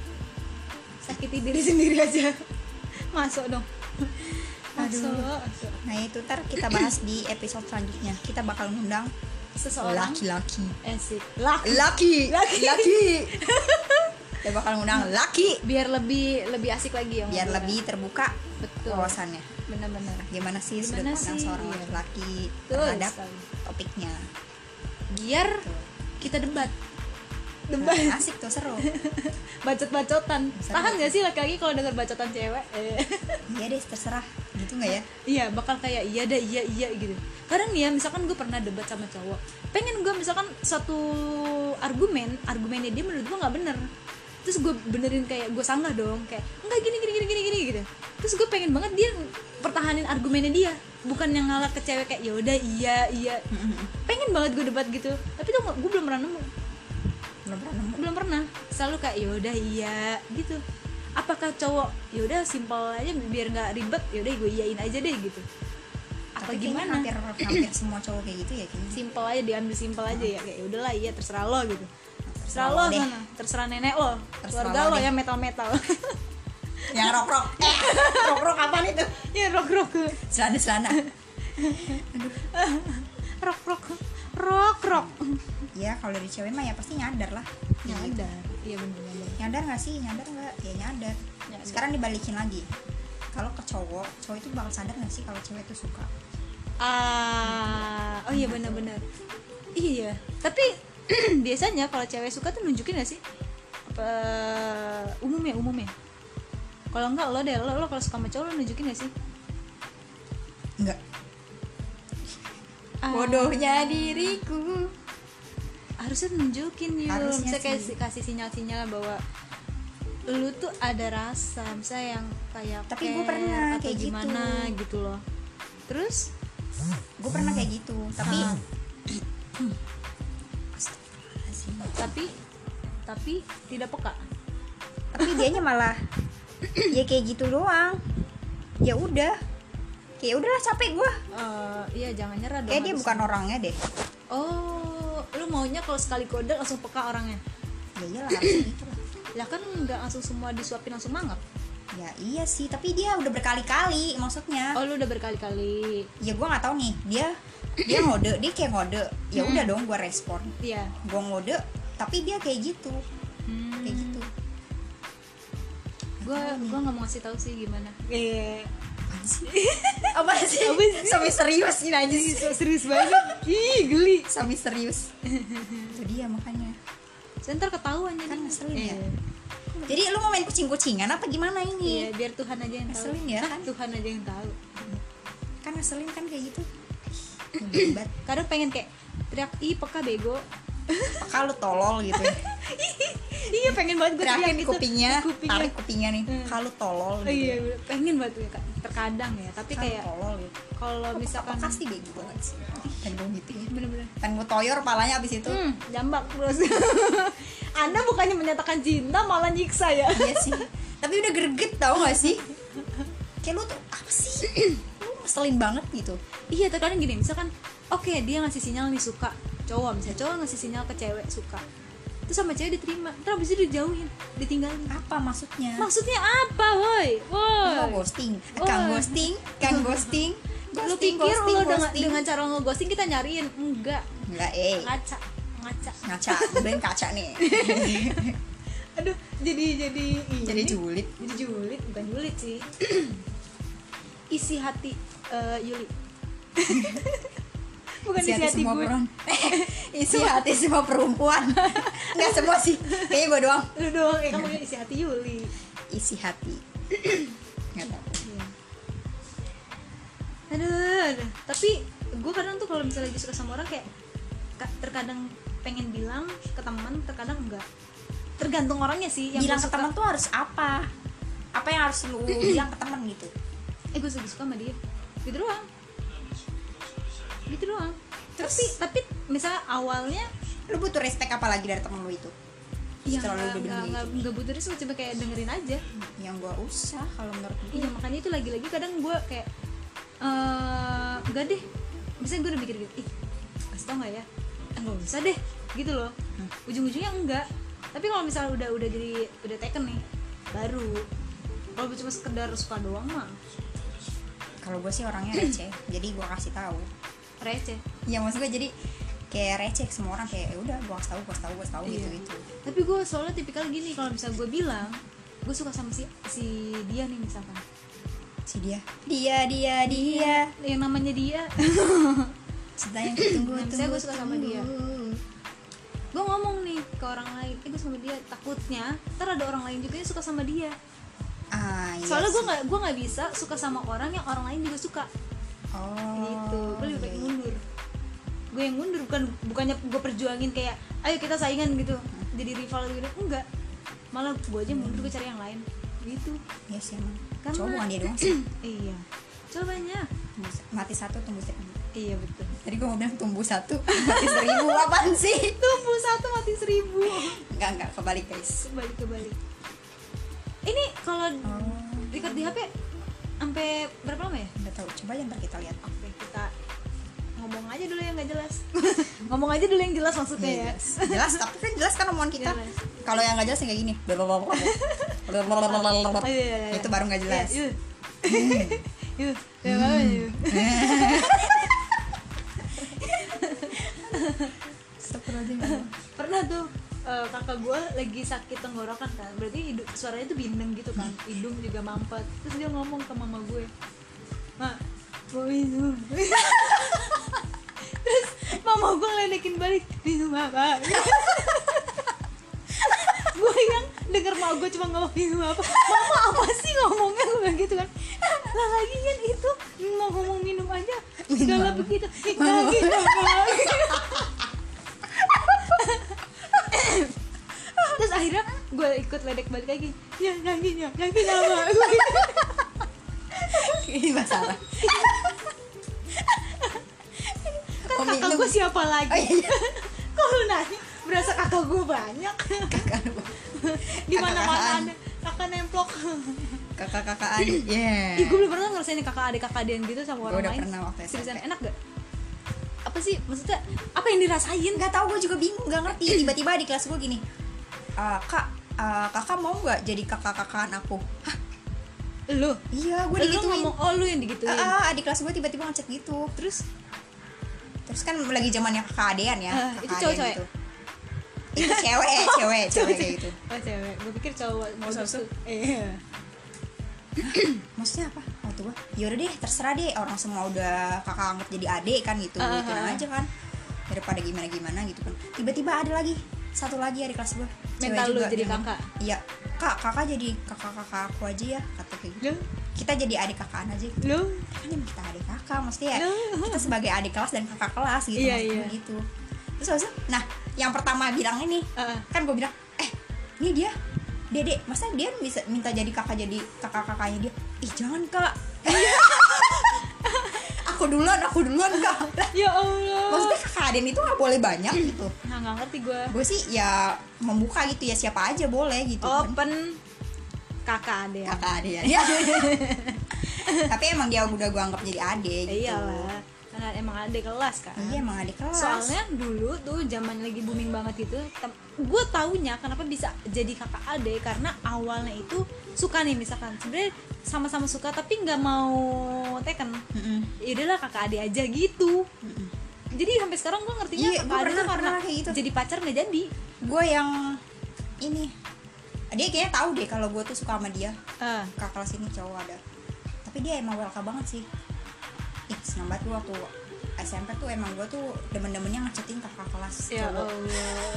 Speaker 1: sakiti diri (laughs) sendiri aja masuk dong
Speaker 2: Aduh.
Speaker 1: masuk
Speaker 2: nah itu ntar kita bahas di episode selanjutnya kita bakal ngundang
Speaker 1: seseorang Eh,
Speaker 2: laki-laki
Speaker 1: esik lah
Speaker 2: laki
Speaker 1: Laki. (laughs)
Speaker 2: laki kita bakal ngundang laki
Speaker 1: biar lebih lebih asik lagi ya
Speaker 2: biar
Speaker 1: ngobrolnya.
Speaker 2: lebih terbuka
Speaker 1: betul
Speaker 2: wawasannya
Speaker 1: benar-benar
Speaker 2: gimana sih sudut
Speaker 1: Gimana
Speaker 2: pandang
Speaker 1: sih?
Speaker 2: seorang
Speaker 1: Iya.
Speaker 2: laki-laki
Speaker 1: Betul
Speaker 2: terhadap
Speaker 1: sekali.
Speaker 2: topiknya
Speaker 1: biar kita debat
Speaker 2: Nah, asik tuh seru
Speaker 1: bacot-bacotan tahan gak sih laki-laki kalau denger bacotan cewek Eh.
Speaker 2: iya deh terserah gitu nggak ya
Speaker 1: iya bakal kayak iya dah iya iya gitu kadang nih ya misalkan gue pernah debat sama cowok pengen gue misalkan satu argumen argumennya dia menurut gue nggak bener terus gue benerin kayak gue sanggah dong kayak enggak gini gini gini gini gini gitu terus gue pengen banget dia pertahanin argumennya dia bukan yang ngalah ke cewek kayak yaudah iya iya pengen banget gue debat gitu tapi tuh gue belum pernah nemu
Speaker 2: belum pernah nemu
Speaker 1: belum pernah selalu kayak yaudah iya gitu apakah cowok yaudah simpel aja biar nggak ribet yaudah gue iyain aja deh gitu apa
Speaker 2: Tapi kayaknya
Speaker 1: gimana
Speaker 2: hampir hampir semua cowok kayak gitu ya kayaknya
Speaker 1: simpel aja diambil simpel aja ya kayak udahlah iya terserah lo gitu terserah
Speaker 2: Terserah
Speaker 1: lo
Speaker 2: lo deh.
Speaker 1: sana terserah nenek lo
Speaker 2: Terserah
Speaker 1: keluarga
Speaker 2: lo
Speaker 1: lo
Speaker 2: deh.
Speaker 1: ya metal metal
Speaker 2: yang rok rok eh rok rok apa nih tuh
Speaker 1: (laughs) ya rock rock
Speaker 2: selana selana
Speaker 1: rock rock rock rock
Speaker 2: ya kalau dari cewek mah ya pasti nyadar lah
Speaker 1: nyadar iya bener bener
Speaker 2: nyadar nggak sih nyadar nggak ya nyadar.
Speaker 1: Nyadar.
Speaker 2: sekarang dibalikin lagi kalau ke cowok cowok itu bakal sadar nggak sih kalau cewek itu suka
Speaker 1: ah oh iya bener bener iya tapi (clears throat) biasanya kalau cewek suka tuh nunjukin gak sih apa umum ya umum ya kalau enggak lo deh lo, lo kalau suka sama cowok lo nunjukin gak sih
Speaker 2: enggak
Speaker 1: Ah.
Speaker 2: bodohnya diriku
Speaker 1: harusnya nunjukin yuk
Speaker 2: Harusnya
Speaker 1: Misalnya kayak si-
Speaker 2: sih.
Speaker 1: kasih sinyal-sinyal bahwa lu tuh ada rasa misalnya yang kayak
Speaker 2: Tapi gua
Speaker 1: care
Speaker 2: pernah
Speaker 1: atau
Speaker 2: kayak gitu.
Speaker 1: gimana gitu. loh terus
Speaker 2: gue pernah kayak gitu tapi
Speaker 1: Ah.
Speaker 2: Astagfirullahaladzim.
Speaker 1: tapi tapi tidak peka
Speaker 2: tapi dianya malah ya kayak gitu doang ya udah kayak udahlah capek gue
Speaker 1: Eh, iya jangan nyerah dong
Speaker 2: kayak dia
Speaker 1: harus-
Speaker 2: bukan orangnya deh
Speaker 1: oh lu maunya kalau sekali kode langsung peka orangnya
Speaker 2: ya iyalah harusnya gitu lah
Speaker 1: lah kan nggak langsung semua disuapin langsung mangap
Speaker 2: ya iya sih tapi dia udah berkali-kali maksudnya
Speaker 1: oh lu udah berkali-kali
Speaker 2: ya gue nggak tahu nih dia dia ngode dia kayak ngode ya udah dong gue respon
Speaker 1: iya
Speaker 2: gue ngode tapi dia kayak gitu
Speaker 1: Hmm.
Speaker 2: kayak gitu
Speaker 1: gue gue nggak mau ngasih tahu sih gimana eh
Speaker 2: Apaan (laughs) sih? apa sih
Speaker 1: Apa sih?
Speaker 2: sampai serius ini aja sih
Speaker 1: serius banget ih geli
Speaker 2: sampai serius itu dia makanya
Speaker 1: Ntar ketahuan jadi
Speaker 2: Kan ngeselin ya?
Speaker 1: Iya.
Speaker 2: jadi lu mau main kucing-kucingan apa gimana
Speaker 1: Iya,
Speaker 2: ini
Speaker 1: biar Tuhan aja yang tahu.
Speaker 2: Ngeselin ya, kan?
Speaker 1: Tuhan aja yang tahu.
Speaker 2: kan ngeselin kan kayak gitu Hebat.
Speaker 1: Kadang pengen kayak teriak, "Ih, peka bego."
Speaker 2: kalau tolol gitu
Speaker 1: iya, pengen banget gue teriak
Speaker 2: terakhir
Speaker 1: gitu.
Speaker 2: kupingnya,
Speaker 1: Kupingnya.
Speaker 2: tarik kupingnya nih
Speaker 1: Hmm.
Speaker 2: kalau tolol
Speaker 1: Oh,
Speaker 2: gitu
Speaker 1: iya, bener. pengen banget gue, Kak. terkadang ya, tapi
Speaker 2: Kalau
Speaker 1: kayak
Speaker 2: tolol gitu
Speaker 1: kalau
Speaker 2: misalkan
Speaker 1: misalkan
Speaker 2: kasih bego banget sih gitu pengen gue gituin
Speaker 1: bener-bener
Speaker 2: pengen gue ya. toyor palanya abis itu
Speaker 1: Hmm, jambak bros. (laughs) Anda bukannya menyatakan cinta malah nyiksa ya.
Speaker 2: iya sih tapi udah greget tau gak sih kayak lu tuh apa sih lu ngeselin banget gitu
Speaker 1: iya terkadang gini misalkan oke dia ngasih sinyal nih suka cowok misalnya cowok ngasih sinyal ke cewek suka terus sama cewek diterima terus abis itu dijauhin ditinggalin
Speaker 2: apa maksudnya
Speaker 1: maksudnya apa woi
Speaker 2: Lu
Speaker 1: woi
Speaker 2: ghosting kang
Speaker 1: Woi.
Speaker 2: ghosting kang ghosting
Speaker 1: lu
Speaker 2: Ghosting,
Speaker 1: pikir
Speaker 2: ghosting,
Speaker 1: lu dengan,
Speaker 2: ghosting.
Speaker 1: dengan cara ngeghosting kita nyariin enggak
Speaker 2: enggak eh
Speaker 1: ngaca ngaca
Speaker 2: ngaca beneran kaca
Speaker 1: (laughs)
Speaker 2: nih
Speaker 1: aduh jadi jadi ini.
Speaker 2: jadi julid
Speaker 1: jadi julid bukan julid sih (clears throat) isi hati eh, Yuli (laughs) bukan isi, hati,
Speaker 2: semua
Speaker 1: gue
Speaker 2: perempuan
Speaker 1: (laughs)
Speaker 2: isi hati semua perempuan nggak semua sih kayaknya gue doang
Speaker 1: lu doang ya kamu isi hati Yuli
Speaker 2: isi
Speaker 1: (clears throat)
Speaker 2: hati nggak tahu
Speaker 1: Iya. Aduh, aduh. tapi gue kadang tuh kalau misalnya lagi suka sama orang kayak ka- terkadang pengen bilang ke teman, terkadang enggak. Tergantung orangnya sih yang
Speaker 2: bilang
Speaker 1: gua
Speaker 2: ke
Speaker 1: suka.
Speaker 2: teman tuh harus apa apa yang harus
Speaker 1: (clears throat)
Speaker 2: lu bilang ke teman gitu
Speaker 1: Eh gue lagi suka sama dia, gitu doang. Gitu doang.
Speaker 2: Terus?
Speaker 1: tapi tapi misalnya awalnya
Speaker 2: lu butuh respect apa lagi dari temen lu itu
Speaker 1: Iya,
Speaker 2: setelah lu
Speaker 1: nggak
Speaker 2: udah
Speaker 1: nggak-
Speaker 2: beli
Speaker 1: nggak nggak butuh research, cuma kayak dengerin aja.
Speaker 2: yang gua usah kalau menurut gue
Speaker 1: Iya makanya itu lagi-lagi kadang gue kayak eh enggak deh. Bisa gue udah mikir gitu, ih kasih tau nggak ya? Enggak usah deh, gitu loh. Ujung-ujungnya enggak. Tapi kalau misalnya udah udah jadi udah taken nih, baru. Kalau cuma sekedar suka doang mah
Speaker 2: kalau gue sih orangnya
Speaker 1: (clears throat)
Speaker 2: receh jadi gua kasih tahu
Speaker 1: receh.
Speaker 2: ya maksud gue jadi kayak receh ke semua orang kayak "Ya udah gua kasih tahu gua kasih tahu gua kasih tahu
Speaker 1: Iya.
Speaker 2: gitu gitu
Speaker 1: Tapi gue soalnya tipikal gini kalau misalnya gue bilang gue suka sama si si dia nih misalkan.
Speaker 2: si dia dia dia dia
Speaker 1: Yang namanya dia,
Speaker 2: cinta yang
Speaker 1: (clears throat)
Speaker 2: tunggu
Speaker 1: Nah,
Speaker 2: tunggu
Speaker 1: misalnya gua suka sama dia. gue ngomong nih ke orang lain, eh gue sama dia takutnya ntar ada orang lain juga yang suka sama dia.
Speaker 2: ah iya
Speaker 1: soalnya gue
Speaker 2: sih.
Speaker 1: nggak gue nggak bisa suka sama orang yang orang lain juga suka
Speaker 2: oh
Speaker 1: gitu gue lebih baik
Speaker 2: iya, iya.
Speaker 1: mundur gue yang mundur bukan bukannya gue perjuangin kayak ayo kita saingan gitu jadi rival gitu enggak malah gue aja mundur gue cari yang lain gitu
Speaker 2: Iya sih emang
Speaker 1: Karena-
Speaker 2: cowok bukan dia doang sih
Speaker 1: iya coba banyak
Speaker 2: Tumbuh- mati satu tumbuh seribu
Speaker 1: iya betul
Speaker 2: tadi gue mau bilang tumbuh satu mati seribu apaan sih
Speaker 1: tumbuh satu mati seribu
Speaker 2: enggak enggak kebalik guys
Speaker 1: kembali kembali ini kalau
Speaker 2: oh
Speaker 1: record di HP sampai berapa lama ya
Speaker 2: nggak tahu coba aja ntar kita lihat
Speaker 1: Oke, kita ngomong aja dulu yang nggak jelas (laughs) ngomong aja dulu yang jelas maksudnya ya
Speaker 2: Yes. jelas tapi kan jelas kan omongan kita
Speaker 1: Jelas.
Speaker 2: kalau yang nggak jelas yang kayak gini
Speaker 1: Oh, iya, iya, iya.
Speaker 2: itu baru nggak jelas Hmm.
Speaker 1: Iya, (laughs) iya. Iya, iya, makanya, iya.
Speaker 2: Astagfirullahaladzim.
Speaker 1: pernah tuh eh, kakak gue lagi sakit tenggorokan kan berarti hidup suaranya tuh bindeng gitu kan hidung juga mampet terus dia ngomong ke mama gue mak mau (laughs) minum terus mama gue ngeledekin balik minum (laughs) apa gue yang denger mak gue cuma ngomong minum apa mama apa sih ngomongnya gue bilang gitu kan lah lagi kan itu mau ngomong minum aja segala begitu Ih, lagi lagi terus akhirnya gue ikut ledek balik lagi ya kakinya
Speaker 2: (laughs)
Speaker 1: kakinya apa
Speaker 2: ini masalah
Speaker 1: kan
Speaker 2: Oh,
Speaker 1: kakak
Speaker 2: minum.
Speaker 1: gue siapa lagi
Speaker 2: oh iya
Speaker 1: (laughs) kok lu nanya berasa kakak gue
Speaker 2: (laughs)
Speaker 1: banyak
Speaker 2: kakak
Speaker 1: di mana mana
Speaker 2: Kakak-kakaan.
Speaker 1: ada kakak nemplok
Speaker 2: Eh. kakak kakaan yeah
Speaker 1: Ih, gue belum pernah ngerasain kakak adik kakak adian gitu sama
Speaker 2: Gua
Speaker 1: orang
Speaker 2: udah
Speaker 1: lain
Speaker 2: pernah waktu
Speaker 1: seriusan
Speaker 2: SMP.
Speaker 1: enak gak apa sih maksudnya apa yang dirasain
Speaker 2: nggak tahu gue juga bingung nggak ngerti tiba-tiba di kelas gue gini "Ah, kak ah, kakak mau nggak jadi kakak kakaan aku Hah,
Speaker 1: lu
Speaker 2: iya gue
Speaker 1: lu
Speaker 2: digituin
Speaker 1: ngomong oh lu yang digituin (laughs)
Speaker 2: Ah, ah, adik kelas gue tiba-tiba ngechat gitu
Speaker 1: terus
Speaker 2: terus kan lagi zamannya kakak adean ya
Speaker 1: Ah,
Speaker 2: kakak
Speaker 1: itu
Speaker 2: adean
Speaker 1: cowok-cowok
Speaker 2: gitu. itu cewek cewek cewek kayak gitu
Speaker 1: oh cewek gue pikir cowok mau
Speaker 2: Musuh-musuh.
Speaker 1: iya
Speaker 2: maksudnya apa waktu gue yaudah deh terserah deh orang semua udah kakak anggap jadi adik kan gitu
Speaker 1: Ah,
Speaker 2: gitu
Speaker 1: ah.
Speaker 2: aja kan daripada gimana gimana gitu kan tiba-tiba ada lagi satu lagi adik kelas gue cewek
Speaker 1: Mental lu
Speaker 2: juga,
Speaker 1: jadi
Speaker 2: dia ngomong,
Speaker 1: kakak?
Speaker 2: iya kak kakak jadi kakak kakak aku aja ya kata kayak gitu
Speaker 1: lu
Speaker 2: kita jadi adik kakaan aja gitu
Speaker 1: lu
Speaker 2: kan emang kita adik kakak maksudnya
Speaker 1: (laughs)
Speaker 2: ya,
Speaker 1: No.
Speaker 2: kita sebagai adik kelas dan kakak kelas gitu
Speaker 1: Iya,
Speaker 2: maksud gue
Speaker 1: iya.
Speaker 2: gitu terus habis itu, nah yang pertama bilang ini
Speaker 1: Ah.
Speaker 2: kan gue bilang eh ini dia dede masa dia bisa minta jadi kakak jadi kakak kakaknya dia ih jangan kak (laughs) aku duluan aku duluan kak Lah,
Speaker 1: ya allah
Speaker 2: maksudnya kakak aden itu nggak boleh banyak gitu
Speaker 1: Nah, nggak ngerti gue
Speaker 2: gue sih ya membuka gitu ya siapa aja boleh gitu
Speaker 1: Oh.
Speaker 2: kan.
Speaker 1: open kakak adek
Speaker 2: kakak aden (laughs) ya tapi emang dia udah gue anggap jadi ade gitu
Speaker 1: Iya iyalah karena emang adek kelas kan
Speaker 2: iya emang adik kelas
Speaker 1: soalnya dulu tuh zaman lagi booming banget itu gue taunya kenapa bisa jadi kakak adek karena awalnya itu suka nih misalkan sebenarnya sama-sama suka tapi nggak mau teken
Speaker 2: Mm-mm.
Speaker 1: yaudahlah kakak adek aja gitu jadi sampai sekarang gue ngertinya
Speaker 2: Iya,
Speaker 1: kakak adek
Speaker 2: gua
Speaker 1: tuh
Speaker 2: pernah-
Speaker 1: karena
Speaker 2: pernah kayak gitu.
Speaker 1: jadi pacar nggak jadi
Speaker 2: gue yang ini dia kayaknya tahu deh kalau gue tuh suka sama dia
Speaker 1: Eh,
Speaker 2: kakak kelas ini cowok ada tapi dia emang welcome banget sih ih senang banget gue waktu SMP tuh emang gue tuh demen-demennya ngechatin kakak kelas
Speaker 1: ya
Speaker 2: cowok
Speaker 1: Allah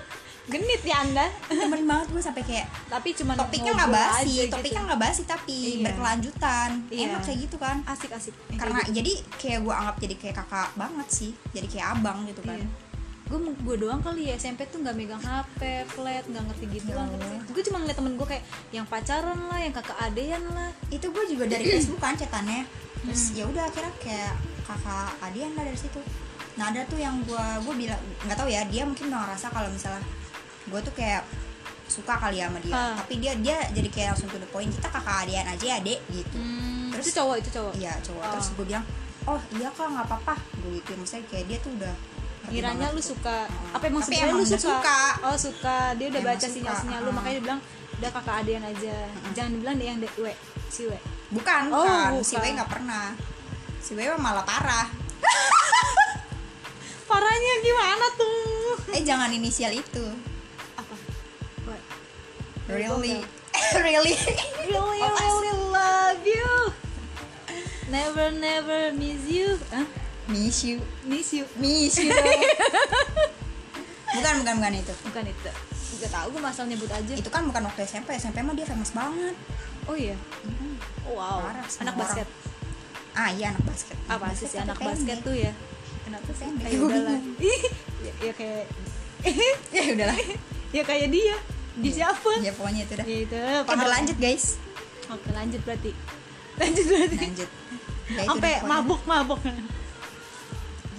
Speaker 1: (laughs) genit ya anda
Speaker 2: demen banget gue sampai kayak
Speaker 1: tapi cuma
Speaker 2: topiknya nggak basi topiknya nggak basi tapi
Speaker 1: gitu. Iya.
Speaker 2: berkelanjutan
Speaker 1: Iya.
Speaker 2: enak kayak gitu kan
Speaker 1: asik asik
Speaker 2: karena jadi kayak gitu gue anggap jadi kayak kakak banget sih jadi kayak abang gitu
Speaker 1: Iya.
Speaker 2: kan
Speaker 1: gue gue doang kali ya SMP tuh nggak megang HP flat nggak ngerti gitu kan
Speaker 2: Ya Allah.
Speaker 1: gue cuma ngeliat temen gue kayak yang pacaran lah yang kakak adean lah
Speaker 2: itu gue juga dari Facebook kan cetannya terus ya udah akhirnya kayak kakak Adian lah dari situ nah ada tuh yang gue gue bilang nggak tahu ya dia mungkin udah ngerasa kalau misalnya gue tuh kayak suka kali ya sama dia
Speaker 1: Ah.
Speaker 2: tapi dia dia jadi kayak langsung to the point kita kakak adian aja ya dek gitu
Speaker 1: Hmm,
Speaker 2: Terus-
Speaker 1: itu cowok itu cowok
Speaker 2: iya cowok
Speaker 1: Ah.
Speaker 2: terus gue bilang oh iya kak nggak apa-apa gue gitu misalnya kayak dia tuh udah ngerti
Speaker 1: kiranya
Speaker 2: banget
Speaker 1: lu
Speaker 2: tuh.
Speaker 1: suka
Speaker 2: Hmm.
Speaker 1: apa emang
Speaker 2: Tapi
Speaker 1: sebenarnya lu
Speaker 2: emang udah
Speaker 1: suka?
Speaker 2: suka.
Speaker 1: oh suka dia udah
Speaker 2: Emang
Speaker 1: baca
Speaker 2: suka,
Speaker 1: sinyal sinyal lu
Speaker 2: ah.
Speaker 1: makanya dia bilang udah kakak adean aja jangan bilang dia yang dewe si we
Speaker 2: bukan
Speaker 1: Oh,
Speaker 2: bukan si
Speaker 1: bukan.
Speaker 2: Wei nggak pernah si Wei mah malah parah
Speaker 1: parahnya gimana tuh
Speaker 2: eh jangan inisial itu
Speaker 1: apa we
Speaker 2: really (laughs) really
Speaker 1: really
Speaker 2: Oh, asli.
Speaker 1: really love
Speaker 2: (laughs)
Speaker 1: you never never miss you Hah?
Speaker 2: miss you
Speaker 1: miss you
Speaker 2: miss you
Speaker 1: (laughs)
Speaker 2: bukan bukan bukan itu
Speaker 1: bukan itu gak tau gue asal nyebut aja
Speaker 2: itu kan bukan waktu SMP SMP mah dia famous banget
Speaker 1: oh iya wow
Speaker 2: Parah, semua
Speaker 1: anak
Speaker 2: orang.
Speaker 1: basket
Speaker 2: ah iya anak basket
Speaker 1: apa sih si
Speaker 2: tapi
Speaker 1: anak
Speaker 2: pendek.
Speaker 1: basket tuh ya kenapa sih
Speaker 2: Pendek.
Speaker 1: kayak udahlah (laughs) Ih, ya, ya kayak
Speaker 2: (laughs) ya udahlah
Speaker 1: (laughs) ya kayak dia di siapa
Speaker 2: ya pokoknya itu dah
Speaker 1: ya itu
Speaker 2: Oke, berlanjut
Speaker 1: (laughs)
Speaker 2: guys
Speaker 1: oke lanjut berarti (laughs) lanjut berarti
Speaker 2: lanjut Ya, itu
Speaker 1: sampai
Speaker 2: deh pokoknya.
Speaker 1: mabuk mabuk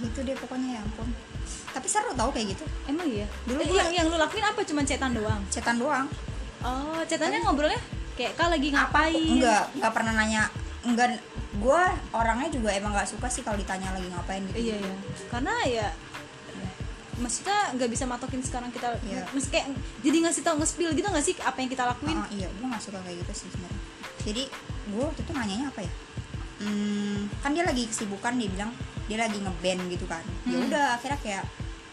Speaker 2: gitu deh pokoknya ya ampun tapi seru tau kayak gitu
Speaker 1: emang iya
Speaker 2: Dulu
Speaker 1: Eh,
Speaker 2: gua-
Speaker 1: yang yang lu lakuin apa cuman cetan doang
Speaker 2: cetan doang
Speaker 1: oh cetannya ngobrolnya kayak kak lagi ngapain
Speaker 2: enggak enggak pernah nanya enggak gue orangnya juga emang nggak suka sih kalau ditanya lagi ngapain gitu
Speaker 1: iya ya karena ya maksudnya nggak bisa matokin sekarang kita
Speaker 2: Iya.
Speaker 1: Maksudnya kayak jadi ngasih tau nge-spill gitu nggak sih apa yang kita lakuin
Speaker 2: Ah, iya gue nggak suka kayak gitu sih sebenarnya jadi gue waktu itu nanyanya apa ya Hmm, kan dia lagi kesibukan dia bilang dia lagi ngeband gitu kan ya
Speaker 1: Hmm.
Speaker 2: udah akhirnya kayak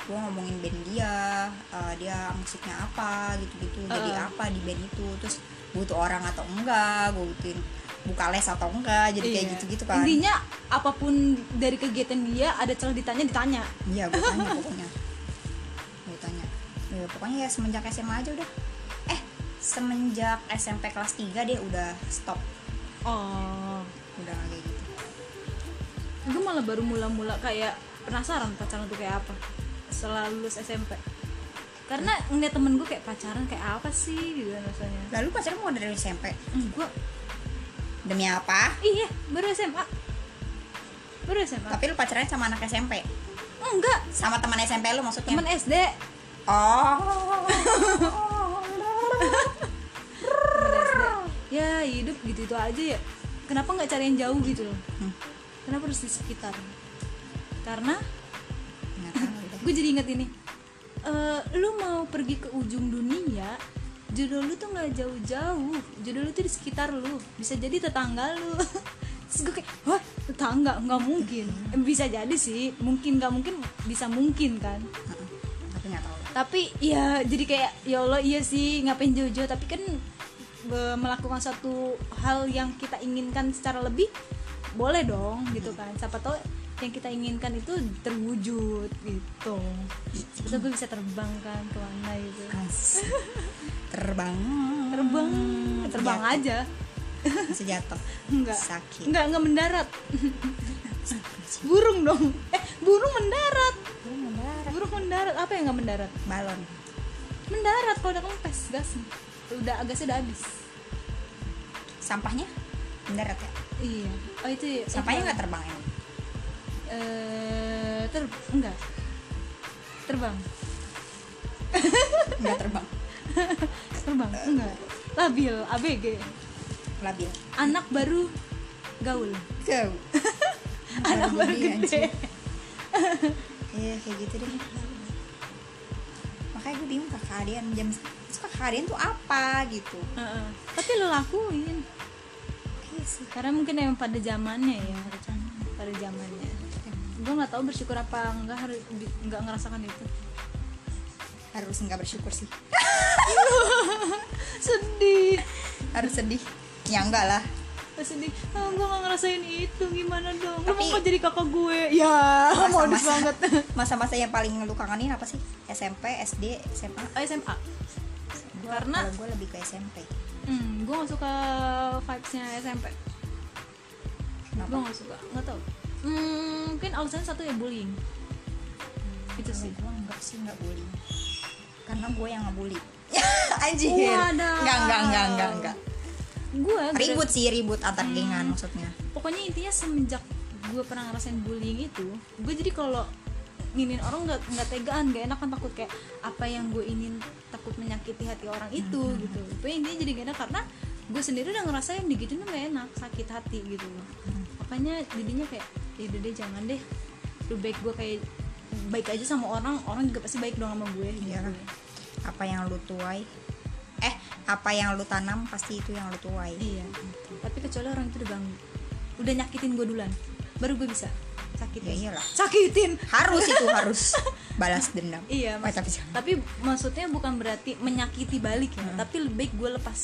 Speaker 2: gue ngomongin band dia eh, dia musiknya apa gitu-gitu jadi
Speaker 1: Uh-uh.
Speaker 2: apa di band itu terus butuh orang atau enggak gue butuhin buka les atau enggak jadi kayak
Speaker 1: Iya.
Speaker 2: gitu-gitu kan
Speaker 1: intinya apapun dari kegiatan dia ada celah ditanya ditanya
Speaker 2: Iya, gue tanya pokoknya. Gue tanya. Ya, pokoknya ya semenjak SMA aja udah. Eh, semenjak SMP kelas 3 deh udah stop.
Speaker 1: oh
Speaker 2: Udah nggak kayak gitu.
Speaker 1: gue malah baru mula-mula kayak penasaran pacaran tuh kayak apa setelah lulus SMP karena ngeliat temen gue kayak pacaran kayak apa sih gitu kan rasanya
Speaker 2: Lalu pacaran mau dari SMP.
Speaker 1: gue
Speaker 2: Demi apa?
Speaker 1: iya baru SMA baru SMA
Speaker 2: Tapi lu pacaran sama anak SMP.
Speaker 1: enggak
Speaker 2: Sama teman SMP lu maksudnya.
Speaker 1: temen SD (laughs)
Speaker 2: Oh.
Speaker 1: temen SD ya hidup gitu itu aja ya kenapa nggak cari yang jauh gitu loh
Speaker 2: Hmm,
Speaker 1: kenapa harus di sekitar karena
Speaker 2: nggak tahu deh.
Speaker 1: gue jadi inget ini Eh, lu mau pergi ke ujung dunia jodoh lu tuh nggak jauh-jauh jodoh lu tuh di sekitar lu bisa jadi tetangga lu (laughs) terus gue kayak wah tetangga nggak mungkin Eh, bisa jadi sih mungkin nggak mungkin bisa mungkin kan
Speaker 2: Heeh. Tapi nggak tahu.
Speaker 1: tapi ya jadi kayak ya Allah iya sih ngapain jauh-jauh tapi kan be- melakukan satu hal yang kita inginkan secara lebih boleh dong gitu kan siapa tahu yang kita inginkan itu terwujud gitu terus gue bisa terbang kan kemana gitu
Speaker 2: As- Terbang.
Speaker 1: terbang terbang
Speaker 2: Jatuh.
Speaker 1: aja
Speaker 2: Bisa jatuh.
Speaker 1: enggak
Speaker 2: Sakit.
Speaker 1: enggak enggak mendarat burung dong eh burung mendarat
Speaker 2: Lu mendarat.
Speaker 1: burung mendarat apa yang nggak mendarat
Speaker 2: Balon.
Speaker 1: mendarat kalau udah kempes gasnya udah agasnya udah habis
Speaker 2: Sampahnya mendarat ya.
Speaker 1: iya oh itu ya
Speaker 2: Sampahnya nggak terbang emang.
Speaker 1: eh ter enggak terbang
Speaker 2: nggak terbang
Speaker 1: terbang enggak labil abg
Speaker 2: labil
Speaker 1: anak baru gaul
Speaker 2: jauh
Speaker 1: anak baru
Speaker 2: anjing.
Speaker 1: gede
Speaker 2: iya kayak gitu deh makanya gue bingung kakak Adian jam terus kakak Adian tuh apa gitu
Speaker 1: Heeh. tapi lo lakuin
Speaker 2: iya sih
Speaker 1: karena mungkin emang pada zamannya ya pada zamannya gue nggak tahu bersyukur apa enggak harus bi- nggak ngerasakan itu (laughs)
Speaker 2: harus nggak bersyukur sih
Speaker 1: sedih
Speaker 2: harus sedih ya enggak lah (laughs)
Speaker 1: Pas sedih oh, gue gak ngerasain itu gimana dong lu
Speaker 2: Tapi-
Speaker 1: mau kok jadi kakak gue ya modus banget
Speaker 2: masa-masa yang paling lu kangenin apa sih SMP SD SMA
Speaker 1: Oh, SMA
Speaker 2: Gua-
Speaker 1: Karena-
Speaker 2: kalau gue lebih ke SMP
Speaker 1: hmm, gue gak suka vibesnya SMP gue
Speaker 2: kenapa
Speaker 1: gak suka nggak tau hmm, mungkin alasannya satu ya bullying itu gitu sih
Speaker 2: gue enggak sih enggak bully karena gue yang ngebully (laughs) anjir
Speaker 1: Wadah.
Speaker 2: enggak enggak enggak enggak enggak
Speaker 1: gue
Speaker 2: ribut sih ribut antar gengan maksudnya
Speaker 1: pokoknya intinya semenjak gue pernah ngerasain bullying itu gue jadi kalau nginin orang nggak nggak tegaan nggak enak kan takut kayak apa yang gue ingin takut menyakiti hati orang itu
Speaker 2: Hmm.
Speaker 1: gitu itu intinya jadi gak enak karena gue sendiri udah ngerasa yang digituin tuh gak enak sakit hati gitu loh
Speaker 2: Hmm.
Speaker 1: makanya jadinya kayak ya udah deh jangan deh lebih baik gue kayak baik aja sama orang orang juga pasti baik dong sama gue gitu.
Speaker 2: Iyalah. Iya. apa yang lu tuai eh apa yang lu tanam pasti itu yang lu tuai
Speaker 1: Iya. Tapi kecuali orang itu udah ganggu. Udah nyakitin gue duluan. Baru gue bisa sakitin.
Speaker 2: Ya iyalah.
Speaker 1: Sakitin.
Speaker 2: harus itu
Speaker 1: (laughs)
Speaker 2: harus balas dendam
Speaker 1: Iya,
Speaker 2: Eh,
Speaker 1: Mas.
Speaker 2: tapi
Speaker 1: Tapi maksudnya bukan berarti menyakiti balik ya,
Speaker 2: Hmm.
Speaker 1: tapi lebih baik gue lepas.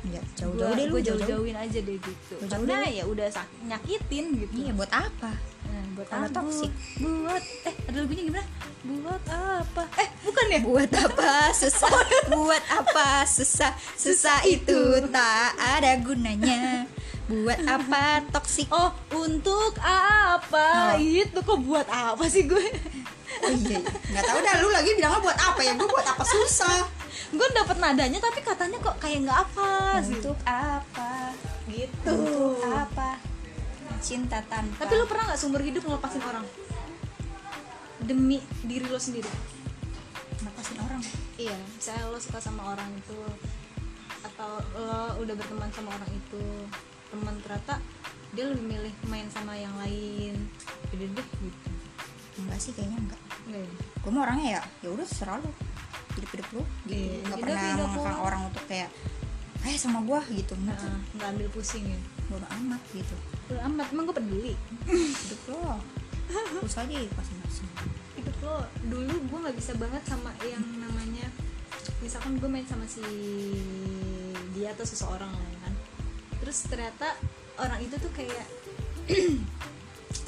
Speaker 2: Iya, jauh
Speaker 1: Gua-
Speaker 2: jauh deh lu
Speaker 1: gua
Speaker 2: jauh jauh
Speaker 1: jauh-jauhin aja deh gitu.
Speaker 2: Jauh-jauh
Speaker 1: Karena
Speaker 2: deh.
Speaker 1: ya udah sak- nyakitin gitu.
Speaker 2: iya buat apa
Speaker 1: Nah, buat
Speaker 2: Kalau
Speaker 1: apa?
Speaker 2: toxic.
Speaker 1: Buat eh ada lagunya gimana? Buat apa? Eh, bukan ya? Oh.
Speaker 2: buat apa
Speaker 1: (laughs)
Speaker 2: susah buat apa susah susah itu tak ada gunanya buat apa toksik
Speaker 1: (laughs)
Speaker 2: oh,
Speaker 1: Oh, untuk apa?
Speaker 2: Oh.
Speaker 1: Itu kok buat apa sih gue? (laughs)
Speaker 2: iya iya. nggak tahu dah lu lagi bilangnya buat apa ya gue buat apa susah
Speaker 1: gue dapet nadanya tapi katanya kok kayak nggak apa gitu.
Speaker 2: untuk apa
Speaker 1: gitu
Speaker 2: untuk apa cinta tanpa
Speaker 1: tapi lu pernah nggak seumur hidup ngelepasin orang demi diri lo sendiri
Speaker 2: lepasin orang
Speaker 1: iya misalnya lo suka sama orang itu atau lo udah berteman sama orang itu teman ternyata dia lebih milih main sama yang lain jadi deh gitu
Speaker 2: enggak sih kayaknya enggak
Speaker 1: Nggak ya?
Speaker 2: gue mau orangnya ya ya udah serah lu hidup hidup lu gitu
Speaker 1: Iya,
Speaker 2: nggak
Speaker 1: hidup
Speaker 2: pernah
Speaker 1: hidup
Speaker 2: mengekang
Speaker 1: lu.
Speaker 2: orang untuk kayak eh sama gua gitu enggak
Speaker 1: Nah, nggak ambil pusing ya
Speaker 2: bodo amat gitu
Speaker 1: udah amat emang gue peduli
Speaker 2: hidup lo usah aja ya, pasti masing
Speaker 1: hidup lo dulu gue nggak bisa banget sama yang namanya misalkan gue main sama si dia atau seseorang lah ya kan terus ternyata orang itu tuh kayak (clears throat)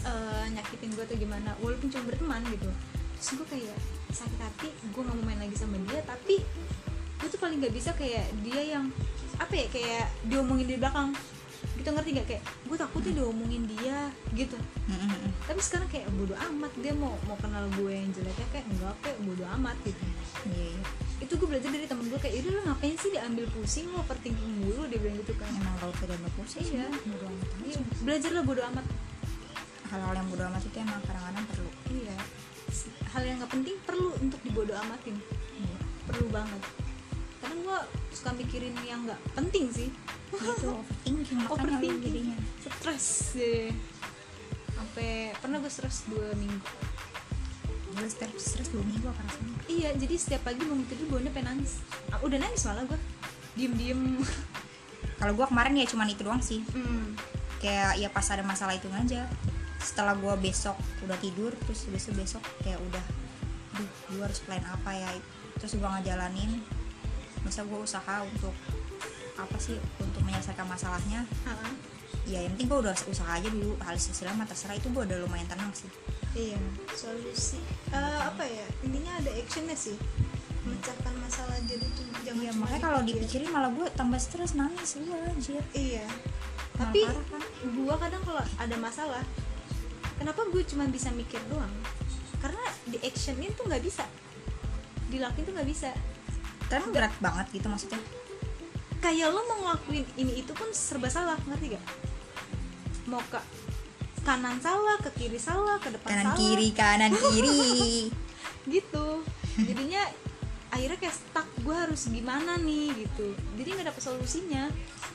Speaker 1: eh, nyakitin gue atau gimana walaupun cuma berteman gitu terus gue kayak sakit hati gue nggak mau main lagi sama dia tapi gue tuh paling nggak bisa kayak dia yang apa ya kayak diomongin di belakang gitu ngerti gak kayak gue takutnya diomongin dia gitu tapi sekarang kayak bodo amat dia mau mau kenal gue yang jeleknya kayak enggak kayak bodo amat gitu
Speaker 2: iya iya
Speaker 1: itu gue belajar dari temen gue kayak yaudah lo ngapain sih diambil pusing lo overthinking mulu dia bilang gitu kan
Speaker 2: emang kalau tidak bagus sih
Speaker 1: Iya.
Speaker 2: bodo amat aja.
Speaker 1: Iya, belajar lo bodo amat
Speaker 2: hal-hal yang bodo amat itu emang kadang-kadang perlu
Speaker 1: iya hal yang nggak penting perlu untuk dibodo amatin
Speaker 2: iya.
Speaker 1: perlu banget karena gue suka mikirin yang nggak penting sih
Speaker 2: itu Gitu,
Speaker 1: (laughs)
Speaker 2: overthinking Iya, makanya lu
Speaker 1: overthinking
Speaker 2: jadinya
Speaker 1: stres deh sampai pernah gue stres dua minggu
Speaker 2: gue stres stres dua minggu apa rasanya
Speaker 1: Iya, jadi setiap pagi bangun tidur gue udah pengen nangis. Ah, udah nangis malah gue. Diem-diem.
Speaker 2: kalau gua kemarin ya cuman itu doang sih
Speaker 1: Hmm.
Speaker 2: kayak ya pas ada masalah itu aja setelah gua besok udah tidur terus besok besok kayak udah duh gue harus plan apa ya terus gua ngejalanin masa gua usaha untuk apa sih untuk menyelesaikan masalahnya
Speaker 1: (laughs) Ha-ha.
Speaker 2: ya yang penting gua udah usaha aja dulu hal sesilah mata terserah itu gua udah lumayan tenang sih
Speaker 1: Iya, solusi. Eh, apa ya? Intinya ada actionnya sih. Memecahkan masalah jadi tuh jangan
Speaker 2: ya
Speaker 1: cuma
Speaker 2: makanya kalau
Speaker 1: Iya, dipikir.
Speaker 2: dipikirin malah gua tambah stres nangis gue anjir
Speaker 1: Iya.
Speaker 2: Malah
Speaker 1: Tapi
Speaker 2: parah kan?
Speaker 1: gue kadang kalau ada masalah, kenapa gue cuma bisa mikir doang? Karena di actionin tuh nggak bisa. Dilakuin tuh nggak bisa.
Speaker 2: kan berat banget gitu maksudnya
Speaker 1: kayak lo mau ngelakuin ini itu pun serba salah ngerti gak mau ke kanan salah ke kiri salah ke depan
Speaker 2: kanan
Speaker 1: salah
Speaker 2: kiri kanan
Speaker 1: (laughs)
Speaker 2: kiri
Speaker 1: gitu jadinya akhirnya kayak stuck gue harus gimana nih gitu jadi nggak dapet solusinya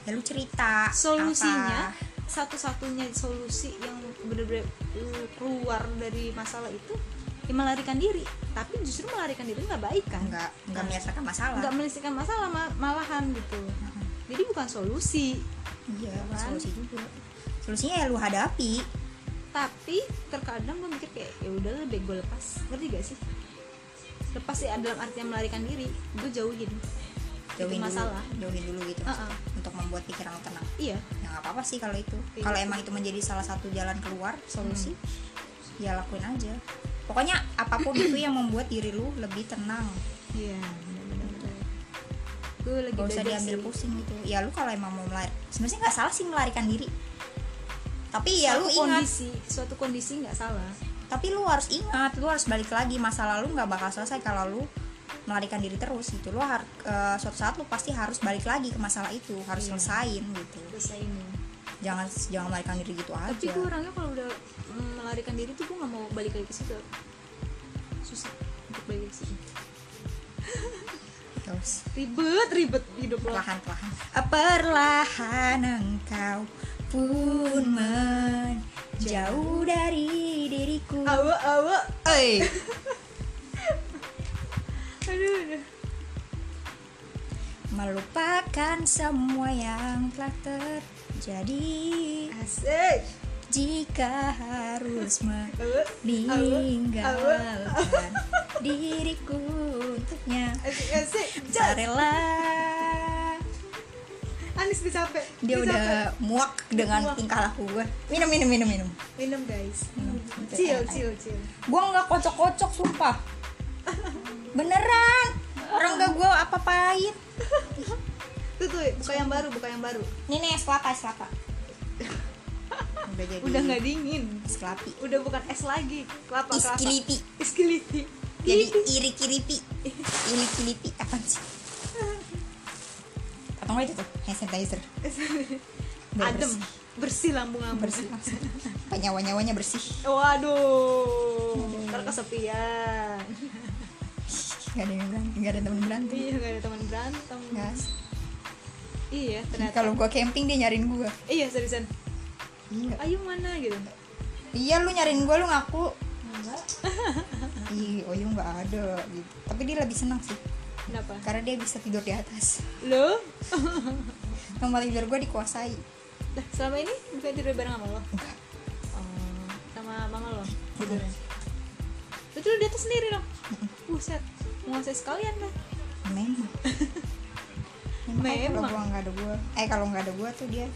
Speaker 2: ya lu cerita
Speaker 1: solusinya
Speaker 2: apa?
Speaker 1: satu-satunya solusi yang bener-bener lu keluar dari masalah itu ya melarikan diri tapi justru melarikan diri nggak baik kan
Speaker 2: nggak nggak menyelesaikan masalah
Speaker 1: nggak menyelesaikan masalah ma- malahan gitu
Speaker 2: Heeh.
Speaker 1: jadi bukan solusi
Speaker 2: iya
Speaker 1: Kan?
Speaker 2: solusi juga solusinya ya lu hadapi
Speaker 1: tapi terkadang gue mikir kayak ya udah lebih gue lepas ngerti gak sih lepas sih dalam artian melarikan diri gue jauhin itu
Speaker 2: jauhin
Speaker 1: masalah
Speaker 2: dulu jauhin dulu gitu
Speaker 1: Heeh.
Speaker 2: maksudnya, untuk membuat pikiran lu tenang
Speaker 1: iya
Speaker 2: ya nggak apa-apa sih kalau itu
Speaker 1: Iya.
Speaker 2: kalau emang itu menjadi salah satu jalan keluar solusi ya lakuin aja pokoknya apapun itu yang membuat diri lu lebih tenang
Speaker 1: iya gue lagi
Speaker 2: gak usah
Speaker 1: belajar
Speaker 2: diambil
Speaker 1: sih.
Speaker 2: pusing gitu ya lu kalau emang mau melari sebenarnya nggak salah sih melarikan diri tapi ya
Speaker 1: suatu
Speaker 2: lu ingat
Speaker 1: kondisi suatu kondisi nggak salah
Speaker 2: tapi lu harus ingat lu harus balik lagi masa lalu nggak bakal selesai kalau lu melarikan diri terus gitu lu har- eh, suatu saat lu pasti harus balik lagi ke masalah itu harus
Speaker 1: Iya.
Speaker 2: selesain gitu
Speaker 1: dosa ini
Speaker 2: jangan jangan melarikan diri gitu
Speaker 1: tapi
Speaker 2: aja
Speaker 1: gue orangnya kalau udah mm, melarikan diri tuh gue nggak mau balik lagi ke situ susah untuk balik sih
Speaker 2: terus
Speaker 1: ribet ribet hidup lo
Speaker 2: Gitu. perlahan perlahan perlahan engkau pun menjauh dari diriku
Speaker 1: awe awe
Speaker 2: Oi.
Speaker 1: aduh aduh.
Speaker 2: (laughs) melupakan semua yang telah terjadi
Speaker 1: asik
Speaker 2: jika harus
Speaker 1: awe
Speaker 2: meninggalkan diriku untuknya
Speaker 1: asik asik
Speaker 2: Tak
Speaker 1: Jas.
Speaker 2: rela
Speaker 1: Anis bisa sampai
Speaker 2: dia
Speaker 1: bisa sampai.
Speaker 2: udah muak dengan
Speaker 1: Muak.
Speaker 2: tingkah laku gue minum minum minum minum
Speaker 1: minum guys
Speaker 2: Minum.
Speaker 1: chill chill chill
Speaker 2: gue nggak kocok kocok
Speaker 1: (laughs)
Speaker 2: sumpah beneran orang gak gue apa apain
Speaker 1: tuh tuh buka yang baru buka yang baru
Speaker 2: nih nih es kelapa es kelapa udah jadi
Speaker 1: udah nggak dingin
Speaker 2: es kelapi
Speaker 1: udah bukan es lagi kelapa kelapa
Speaker 2: iskilipi
Speaker 1: iskiliti
Speaker 2: jadi iri kiripi iri kiripi apa sih atau nggak itu tuh hand sanitizer Biar
Speaker 1: (laughs) adem
Speaker 2: bersih.
Speaker 1: bersih lambung lambung
Speaker 2: bersih langsung apa nyawa nyawanya bersih
Speaker 1: waduh ntar
Speaker 2: (laughs)
Speaker 1: kesepian
Speaker 2: gak ada yang berantem gak ada temen berantem
Speaker 1: iya gak ada teman berantem
Speaker 2: Gas.
Speaker 1: iya ternyata
Speaker 2: kalau gua camping dia nyariin gua
Speaker 1: iya seriusan
Speaker 2: iya
Speaker 1: ayu mana gitu
Speaker 2: iya lu nyariin gua lu ngaku Ih, Oyu nggak ada gitu. Tapi dia lebih senang sih,
Speaker 1: kenapa
Speaker 2: karena dia bisa tidur di atas.
Speaker 1: lo
Speaker 2: Tempat tidur gua dikuasai.
Speaker 1: Lah, selama ini bukan tidur bareng sama lo
Speaker 2: Enggak.
Speaker 1: Oh, sama mama lo tidurnya Berarti lu di atas sendiri dong buset menguasai sekalian lah
Speaker 2: Memang. Kalau
Speaker 1: Memang.
Speaker 2: gua nggak ada gua, eh kalau nggak ada gua tuh dia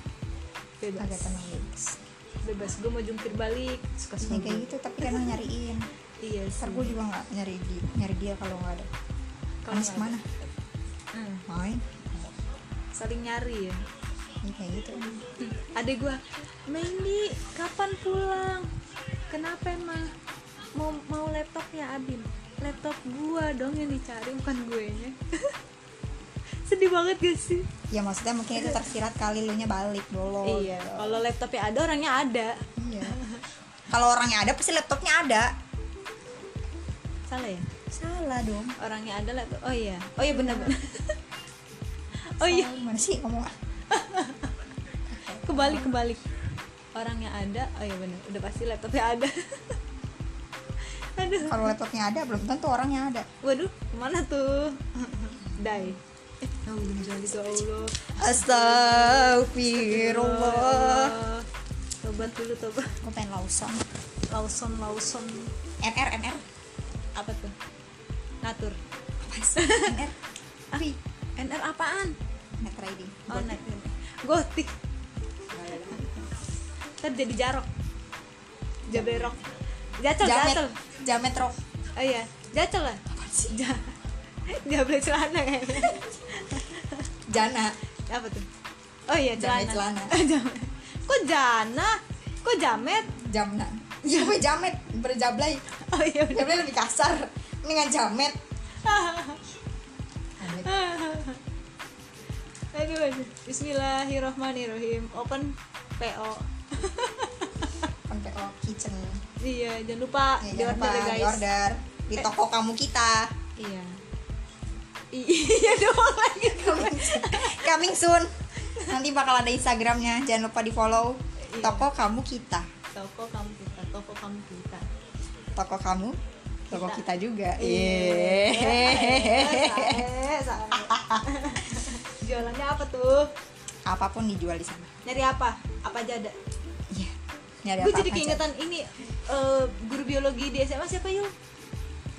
Speaker 2: agak
Speaker 1: bebas
Speaker 2: tenang gitu.
Speaker 1: bebas gue mau jungkir balik suka
Speaker 2: Ya,
Speaker 1: suka
Speaker 2: kayak gitu, tapi kan lu nyariin.
Speaker 1: iya sih
Speaker 2: Ntar gua juga nggak nyari dia, nyari dia kalau nggak ada.
Speaker 1: Kalau
Speaker 2: Anis
Speaker 1: nggak
Speaker 2: kemana?
Speaker 1: Hmm,
Speaker 2: Main.
Speaker 1: saling nyari ya (laughs)
Speaker 2: Ya, kayak gitu.
Speaker 1: ada gue Meli kapan pulang kenapa emang mau mau laptop ya Abim laptop gua dong yang dicari bukan gue nya (laughs) sedih banget gak sih
Speaker 2: Ya maksudnya mungkin itu tersirat kali lu nya balik dulu.
Speaker 1: iya
Speaker 2: gitu.
Speaker 1: kalau laptopnya ada orangnya ada
Speaker 2: Iya. Kalau orangnya ada pasti laptopnya ada.
Speaker 1: salah ya
Speaker 2: Salah dong.
Speaker 1: orangnya ada laptop oh iya oh iya benar benar oh iya
Speaker 2: Salah Gimana sih ngomong?
Speaker 1: kebalik kebalik orangnya ada oh iya benar udah pasti laptopnya ada (laughs) aduh
Speaker 2: Kalau laptopnya ada belum tentu orangnya ada.
Speaker 1: waduh kemana tuh (laughs) die eh ya Allah
Speaker 2: Astagfirullah.
Speaker 1: Eh, tobat dulu tobat
Speaker 2: Gue pengen Lawson.
Speaker 1: Lawson Lawson
Speaker 2: NR NR.
Speaker 1: apa tuh natur Ah,
Speaker 2: Apa sih? NR. Wih.
Speaker 1: NR apaan
Speaker 2: Net riding.
Speaker 1: oh natur gotik ntar jadi jarok jaberok jacel
Speaker 2: Jamet.
Speaker 1: jacel
Speaker 2: Jamet rock.
Speaker 1: oh iya jacel lah apa sih ja (laughs) jable celana kayaknya
Speaker 2: Jana.
Speaker 1: apa tuh oh iya
Speaker 2: Jamet
Speaker 1: celana
Speaker 2: celana.
Speaker 1: (laughs) Jamet. kok jana kok jamet
Speaker 2: Jamna. (laughs) Siapa Jamet? Berjablay.
Speaker 1: oh iya udah
Speaker 2: Jablay lebih kasar. Mendingan Jamet. Jamet.
Speaker 1: (laughs) aduh, aduh. Bismillahirrahmanirrahim open PO
Speaker 2: Kan PO kitchen.
Speaker 1: iya jangan lupa
Speaker 2: Ya,
Speaker 1: di
Speaker 2: jangan
Speaker 1: order
Speaker 2: lupa
Speaker 1: ya,
Speaker 2: di
Speaker 1: guys
Speaker 2: order di toko kamu kita.
Speaker 1: iya I- iya doang lagi
Speaker 2: coming soon. Coming soon. Nanti bakal ada Instagramnya. Jangan lupa di follow.
Speaker 1: Iya.
Speaker 2: Toko kamu kita.
Speaker 1: toko kamu kita toko kamu kita
Speaker 2: Toko kamu. Toko
Speaker 1: Kita. Iya.
Speaker 2: kita, juga. Iya.
Speaker 1: Eh,
Speaker 2: Yeay.
Speaker 1: sae, sae. jualannya apa tuh
Speaker 2: Apapun dijual di sana.
Speaker 1: nyari apa apa aja ada
Speaker 2: Iya. Ini ada
Speaker 1: gue
Speaker 2: apa-apa
Speaker 1: jadi
Speaker 2: aja.
Speaker 1: keingetan ini eh, guru biologi di SMA siapa yuk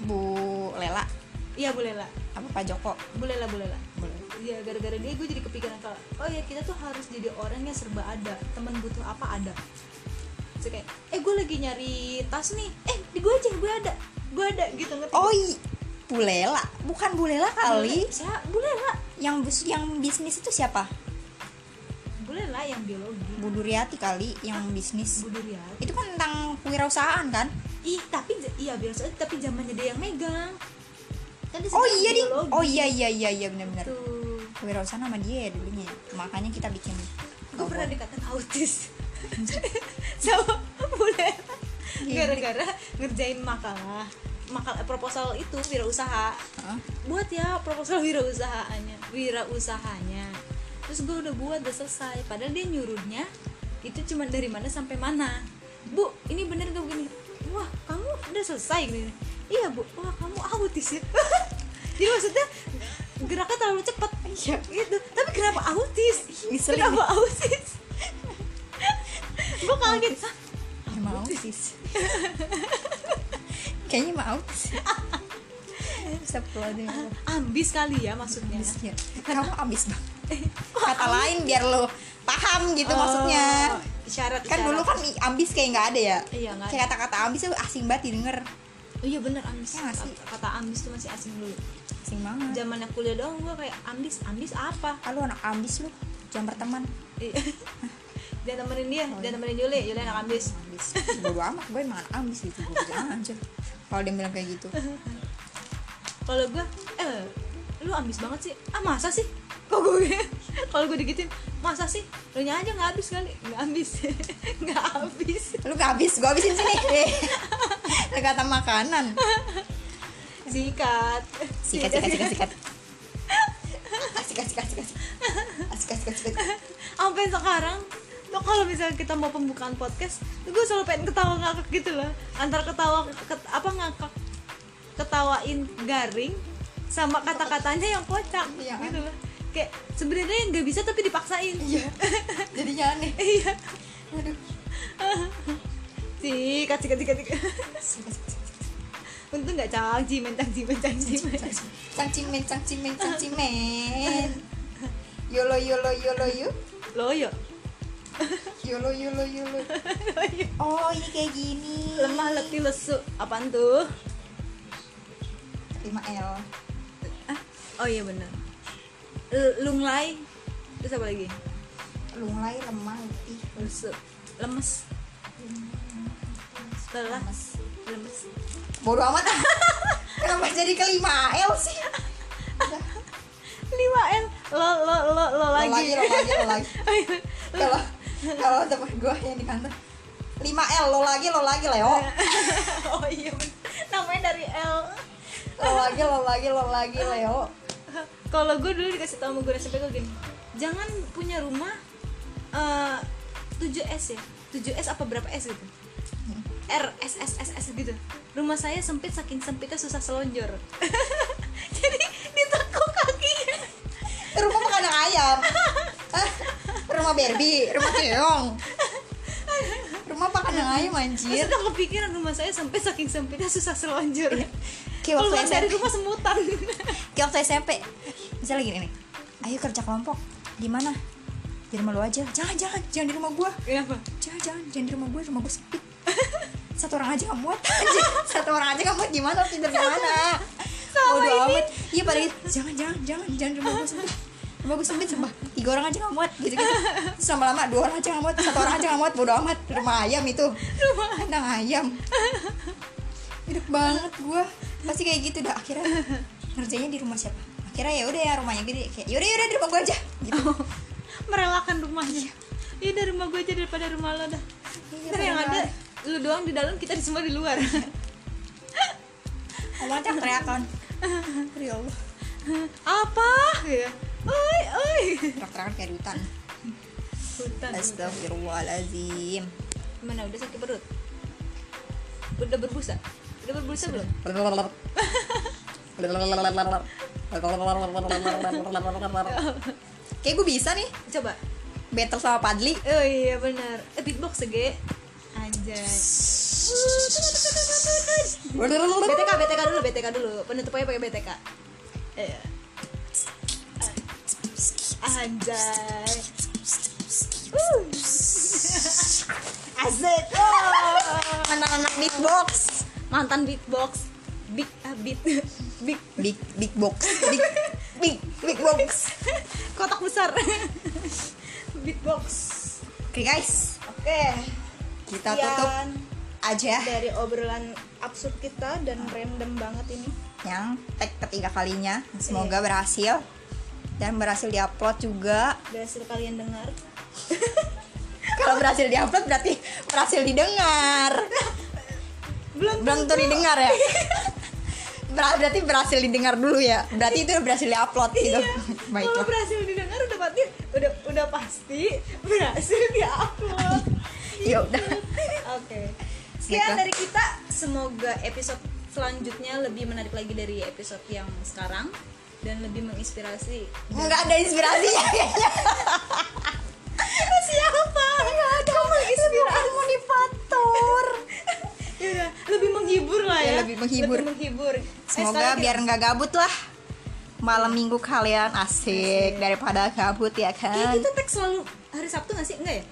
Speaker 2: Bu Lela.
Speaker 1: iya boleh lah
Speaker 2: Apa Pak Joko?
Speaker 1: boleh lah boleh lah
Speaker 2: Boleh.
Speaker 1: Iya gara-gara dia gue jadi kepikiran kalau oh ya kita tuh harus jadi orang yang serba ada temen butuh apa ada Terus kayak eh gue lagi nyari tas nih eh di gue aja gue ada gue ada gitu ngerti
Speaker 2: Oh iya. Bu Lela. Bukan Bu Lela kali.
Speaker 1: siapa boleh lah
Speaker 2: Yang bus- yang bisnis itu siapa?
Speaker 1: boleh lah yang biologi
Speaker 2: Bu Duriati kali yang bisnis.
Speaker 1: budiriat
Speaker 2: Itu kan tentang kewirausahaan kan?
Speaker 1: ih tapi j- iya biasa aja, tapi zamannya dia yang megang kan dia
Speaker 2: Oh
Speaker 1: sekarang
Speaker 2: iya ding.
Speaker 1: biologi.
Speaker 2: Oh iya iya iya iya benar-benar.
Speaker 1: tuh
Speaker 2: kewirausahaan sama dia ya dulunya makanya kita bikin
Speaker 1: gue pernah dikatain
Speaker 2: (laughs)
Speaker 1: autis sama boleh
Speaker 2: Iya.
Speaker 1: gara-gara ngerjain makalah maka proposal itu wirausaha
Speaker 2: Heeh.
Speaker 1: buat ya proposal wirausahaannya wirausahanya terus gue udah buat udah selesai padahal dia nyuruhnya itu cuma dari mana sampai mana bu ini bener gak begini wah kamu udah selesai gini iya bu wah kamu autis ya (laughs) jadi maksudnya geraknya terlalu cepat iya gitu tapi kenapa autis
Speaker 2: Ngeselin.
Speaker 1: kenapa autis gue kaget "Hah,
Speaker 2: emang
Speaker 1: (laughs)
Speaker 2: autis kayaknya emang autis Astagfirullahaladzim.
Speaker 1: Iya. ambis kali ya maksudnya
Speaker 2: Abis ya. kamu abis banget kata lain biar lo paham gitu
Speaker 1: Oh,
Speaker 2: maksudnya
Speaker 1: isyarat
Speaker 2: kan
Speaker 1: isyarat.
Speaker 2: dulu kan i- ambis kayak nggak ada ya
Speaker 1: Iya, nggak
Speaker 2: kayak kata-kata ambis tuh asing banget didengar
Speaker 1: Oh iya bener ambis.
Speaker 2: Ya nggak sih?
Speaker 1: Kata ambis tuh masih asing dulu.
Speaker 2: asing banget
Speaker 1: Zamannya kuliah doang gue kayak ambis, ambis apa?
Speaker 2: ah, lu anak ambis lu jangan berteman
Speaker 1: Eh, (laughs) dia temenin dia,
Speaker 2: Oh, iya.
Speaker 1: dia temenin Yuli, Yuli anak ambis.
Speaker 2: ambis bodo amat gue emang anak ambis gitu gue bilang anjir kalau dia bilang kayak gitu
Speaker 1: Kalau gue, eh lu ambis banget sih. Ah masa sih? (laughs) Kok gue kalau gue digituin, masa sih? Lu nya aja nggak habis kali, nggak habis, nggak habis.
Speaker 2: lu gak habis gue habisin sini Lu kata makanan
Speaker 1: (laughs) Sikat.
Speaker 2: sikat sikat sikat sikat Ah, sikat sikat sikat Ah, sikat sikat sikat
Speaker 1: Sampai sekarang tuh kalau misalnya kita mau pembukaan podcast, tuh gue selalu pengen ketawa ngakak gitu loh. Antara ketawa ket- apa ngakak ketawain garing sama kata-katanya yang kocak
Speaker 2: Iya.
Speaker 1: gitu loh. Kayak sebenarnya nggak bisa tapi dipaksain.
Speaker 2: iya jadinya aneh
Speaker 1: Iya.
Speaker 2: aduh
Speaker 1: Sikat, sikat, sikat, sikat.
Speaker 2: sikat sikat
Speaker 1: (laughs) Untung nggak cangci, men cangci, men cangci, men.
Speaker 2: cangcimen cangcimen cangcimen yolo yolo yolo yu
Speaker 1: Loyo,
Speaker 2: yolo yolo yolo oh ini kayak gini
Speaker 1: lemah letih lesu. Apaan tuh?
Speaker 2: 5 l
Speaker 1: Ah, Oh iya benar. L- Lunglai. Terus apa lagi?
Speaker 2: lunglai lemah letih
Speaker 1: lesu lemes lelah lemes
Speaker 2: bodoh amat (laughs) kenapa jadi kelima l sih
Speaker 1: lima l lo lo lo lo
Speaker 2: Lo
Speaker 1: lagi Oh, iya.
Speaker 2: lagi lo lagi lo
Speaker 1: (laughs)
Speaker 2: lagi kalau kalau teman gue yang di kantor 5 l lo lagi lo lagi leo
Speaker 1: oh iya bener. namanya dari l
Speaker 2: lo lagi lo lagi lo lagi leo
Speaker 1: kalau gue dulu dikasih tau sama gue SMP gue gini jangan punya rumah eh 7S ya 7S apa berapa S gitu R S S S S gitu rumah saya sempit saking sempitnya susah selonjor (laughs) jadi ditekuk kakinya
Speaker 2: Eh, rumah makan anak ayam Hah? rumah Barbie rumah keong rumah makan anak ayam
Speaker 1: Terus
Speaker 2: anjir
Speaker 1: udah kepikiran rumah saya sampai saking sempitnya susah selonjor.
Speaker 2: Kayak Iya. waktu
Speaker 1: Keluar dari
Speaker 2: SMP.
Speaker 1: rumah
Speaker 2: (laughs)
Speaker 1: semutan.
Speaker 2: kayak waktu SMP misalnya gini nih ayo kerja kelompok di mana di rumah lu aja jangan jangan jangan di rumah gua
Speaker 1: Kenapa?
Speaker 2: jangan jangan jangan di rumah gua rumah gua sempit (laughs) satu orang aja nggak muat Anjir, (laughs) satu orang aja nggak muat gimana harus tidur di mana
Speaker 1: Sama
Speaker 2: Bodo
Speaker 1: ini.
Speaker 2: amat iya pada gitu jangan jangan jangan jangan di rumah gua sempit rumah gua sempit sumpah tiga orang aja nggak muat gitu gitu Terus lama-lama dua orang aja nggak muat satu orang aja nggak muat bodo amat rumah ayam itu
Speaker 1: (laughs) Rumah.
Speaker 2: kandang ayam hidup banget gua pasti kayak gitu dah akhirnya ngerjainnya di rumah siapa akhirnya ya udah ya rumahnya gede kayak yaudah yaudah di rumah gua aja gitu
Speaker 1: Merelakan rumahnya. Iya dari rumah gue aja daripada rumah lo dah.
Speaker 2: Iya,
Speaker 1: Ntar yang ada
Speaker 2: padahal.
Speaker 1: lu doang di dalam kita di semua di
Speaker 2: (laughs)
Speaker 1: luar.
Speaker 2: ngomongnya yang teriakan kan. ya Allah
Speaker 1: Apa? Ya. Oi, oi.
Speaker 2: teriak-teriakan kayak di hutan
Speaker 1: Hutan. hutan.
Speaker 2: Astagfirullahaladzim
Speaker 1: Mana udah sakit perut? Udah berbusa? Udah berbusa belum?
Speaker 2: Kayak gue bisa nih
Speaker 1: Coba.
Speaker 2: Battle sama Padli
Speaker 1: Oh iya benar. Eh, beatbox sege. Anjay. BTK BTK dulu BTK dulu penutupannya pakai BTK Iya. anjay Uh.
Speaker 2: Asik oh. Anak-anak beatbox
Speaker 1: mantan beatbox big ah, beat big
Speaker 2: Big, big box Big, big, big box
Speaker 1: kotak besar beatbox
Speaker 2: Oke guys
Speaker 1: oke
Speaker 2: Kita tutup
Speaker 1: Sekian
Speaker 2: Eh. aja
Speaker 1: dari obrolan absurd kita dan random banget ini
Speaker 2: Yang tag ketiga kalinya Semoga berhasil Dan berhasil diupload juga
Speaker 1: berhasil kalian dengar
Speaker 2: Kalau berhasil diupload berarti berhasil didengar
Speaker 1: belum
Speaker 2: (laughs) Belum tuh didengar ya Ber- berarti berhasil didengar dulu ya berarti itu udah berhasil diupload
Speaker 1: Iya.
Speaker 2: gitu (laughs)
Speaker 1: (laughs) Kalau
Speaker 2: baiklah
Speaker 1: berhasil didengar udah pasti udah udah pasti berhasil (laughs) diupload.
Speaker 2: ya udah
Speaker 1: Oke. Sekian
Speaker 2: Gitu.
Speaker 1: dari kita. Semoga episode selanjutnya lebih menarik lagi dari episode yang sekarang dan lebih menginspirasi.
Speaker 2: nggak ada (laughs) inspirasinya kayaknya
Speaker 1: (laughs) Siapa? Enggak ada menginspirasi.
Speaker 2: motivator
Speaker 1: (laughs) Ya udah, lebih menghibur lah ya.
Speaker 2: Ya, lebih menghibur.
Speaker 1: Lebih menghibur. Eh,
Speaker 2: semoga
Speaker 1: sekarang
Speaker 2: biar nggak gabut lah malam minggu kalian asik daripada gabut ya
Speaker 1: kita, kayak
Speaker 2: kan
Speaker 1: kita teks selalu hari Sabtu nggak sih? Enggak ya?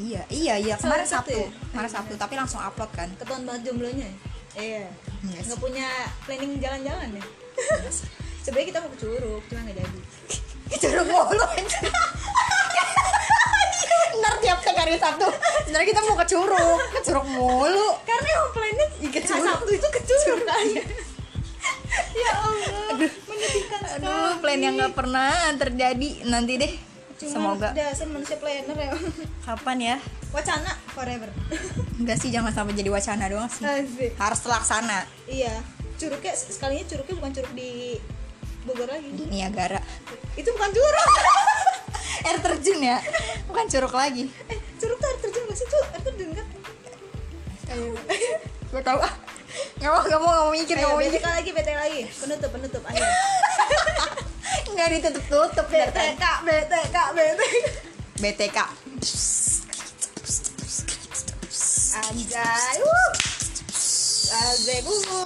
Speaker 2: iya iya iya
Speaker 1: Selalu
Speaker 2: kemarin
Speaker 1: Sabtu
Speaker 2: sabtu
Speaker 1: ya?
Speaker 2: kemarin sabtu tapi langsung upload (laughs) kan
Speaker 1: Ketahuan banget jomblonya. ya? Iya.
Speaker 2: Iya
Speaker 1: Nggak punya planning jalan-jalan ya. (laughs) Sebenarnya kita mau ke Curug, cuma nggak jadi.
Speaker 2: Curug mulu (laughs) anjir. Iya. Ntar tiap tiap hari Sabtu Sebenernya kita mau ke curug Ke curug mulu
Speaker 1: Karena emang planning
Speaker 2: Iya, ke
Speaker 1: hari
Speaker 2: Curug.
Speaker 1: Sabtu itu ke Curug kan. ya Allah, menyedihkan sekali.
Speaker 2: Aduh plan yang gak pernah terjadi Nanti deh
Speaker 1: Cuman
Speaker 2: Semoga
Speaker 1: dasar manusia planner ya.
Speaker 2: Kapan ya
Speaker 1: Wacana forever.
Speaker 2: Enggak sih jangan sampai jadi wacana doang sih
Speaker 1: Asik.
Speaker 2: Harus terlaksana
Speaker 1: (laughs) Iya, curugnya sekalinya curugnya bukan curug di Bogor lagi.
Speaker 2: Niagara (laughs)
Speaker 1: Itu bukan curug.
Speaker 2: Air terjun ya Bukan curug lagi
Speaker 1: (laughs) eh, curug tuh air terjun nggak sih? Curug air terjun kan?
Speaker 2: Gue tau ah Gak mau gak mau gak mau mikir gak
Speaker 1: Ayo,
Speaker 2: mau mikir
Speaker 1: BTK lagi, BTK lagi. Penutup, penutup. Ayo.
Speaker 2: Gak ditutup-tutup dari tadi.
Speaker 1: BTK, BTK, BTK.
Speaker 2: BTK
Speaker 1: Anjay. Wuh. Anjay, wuh.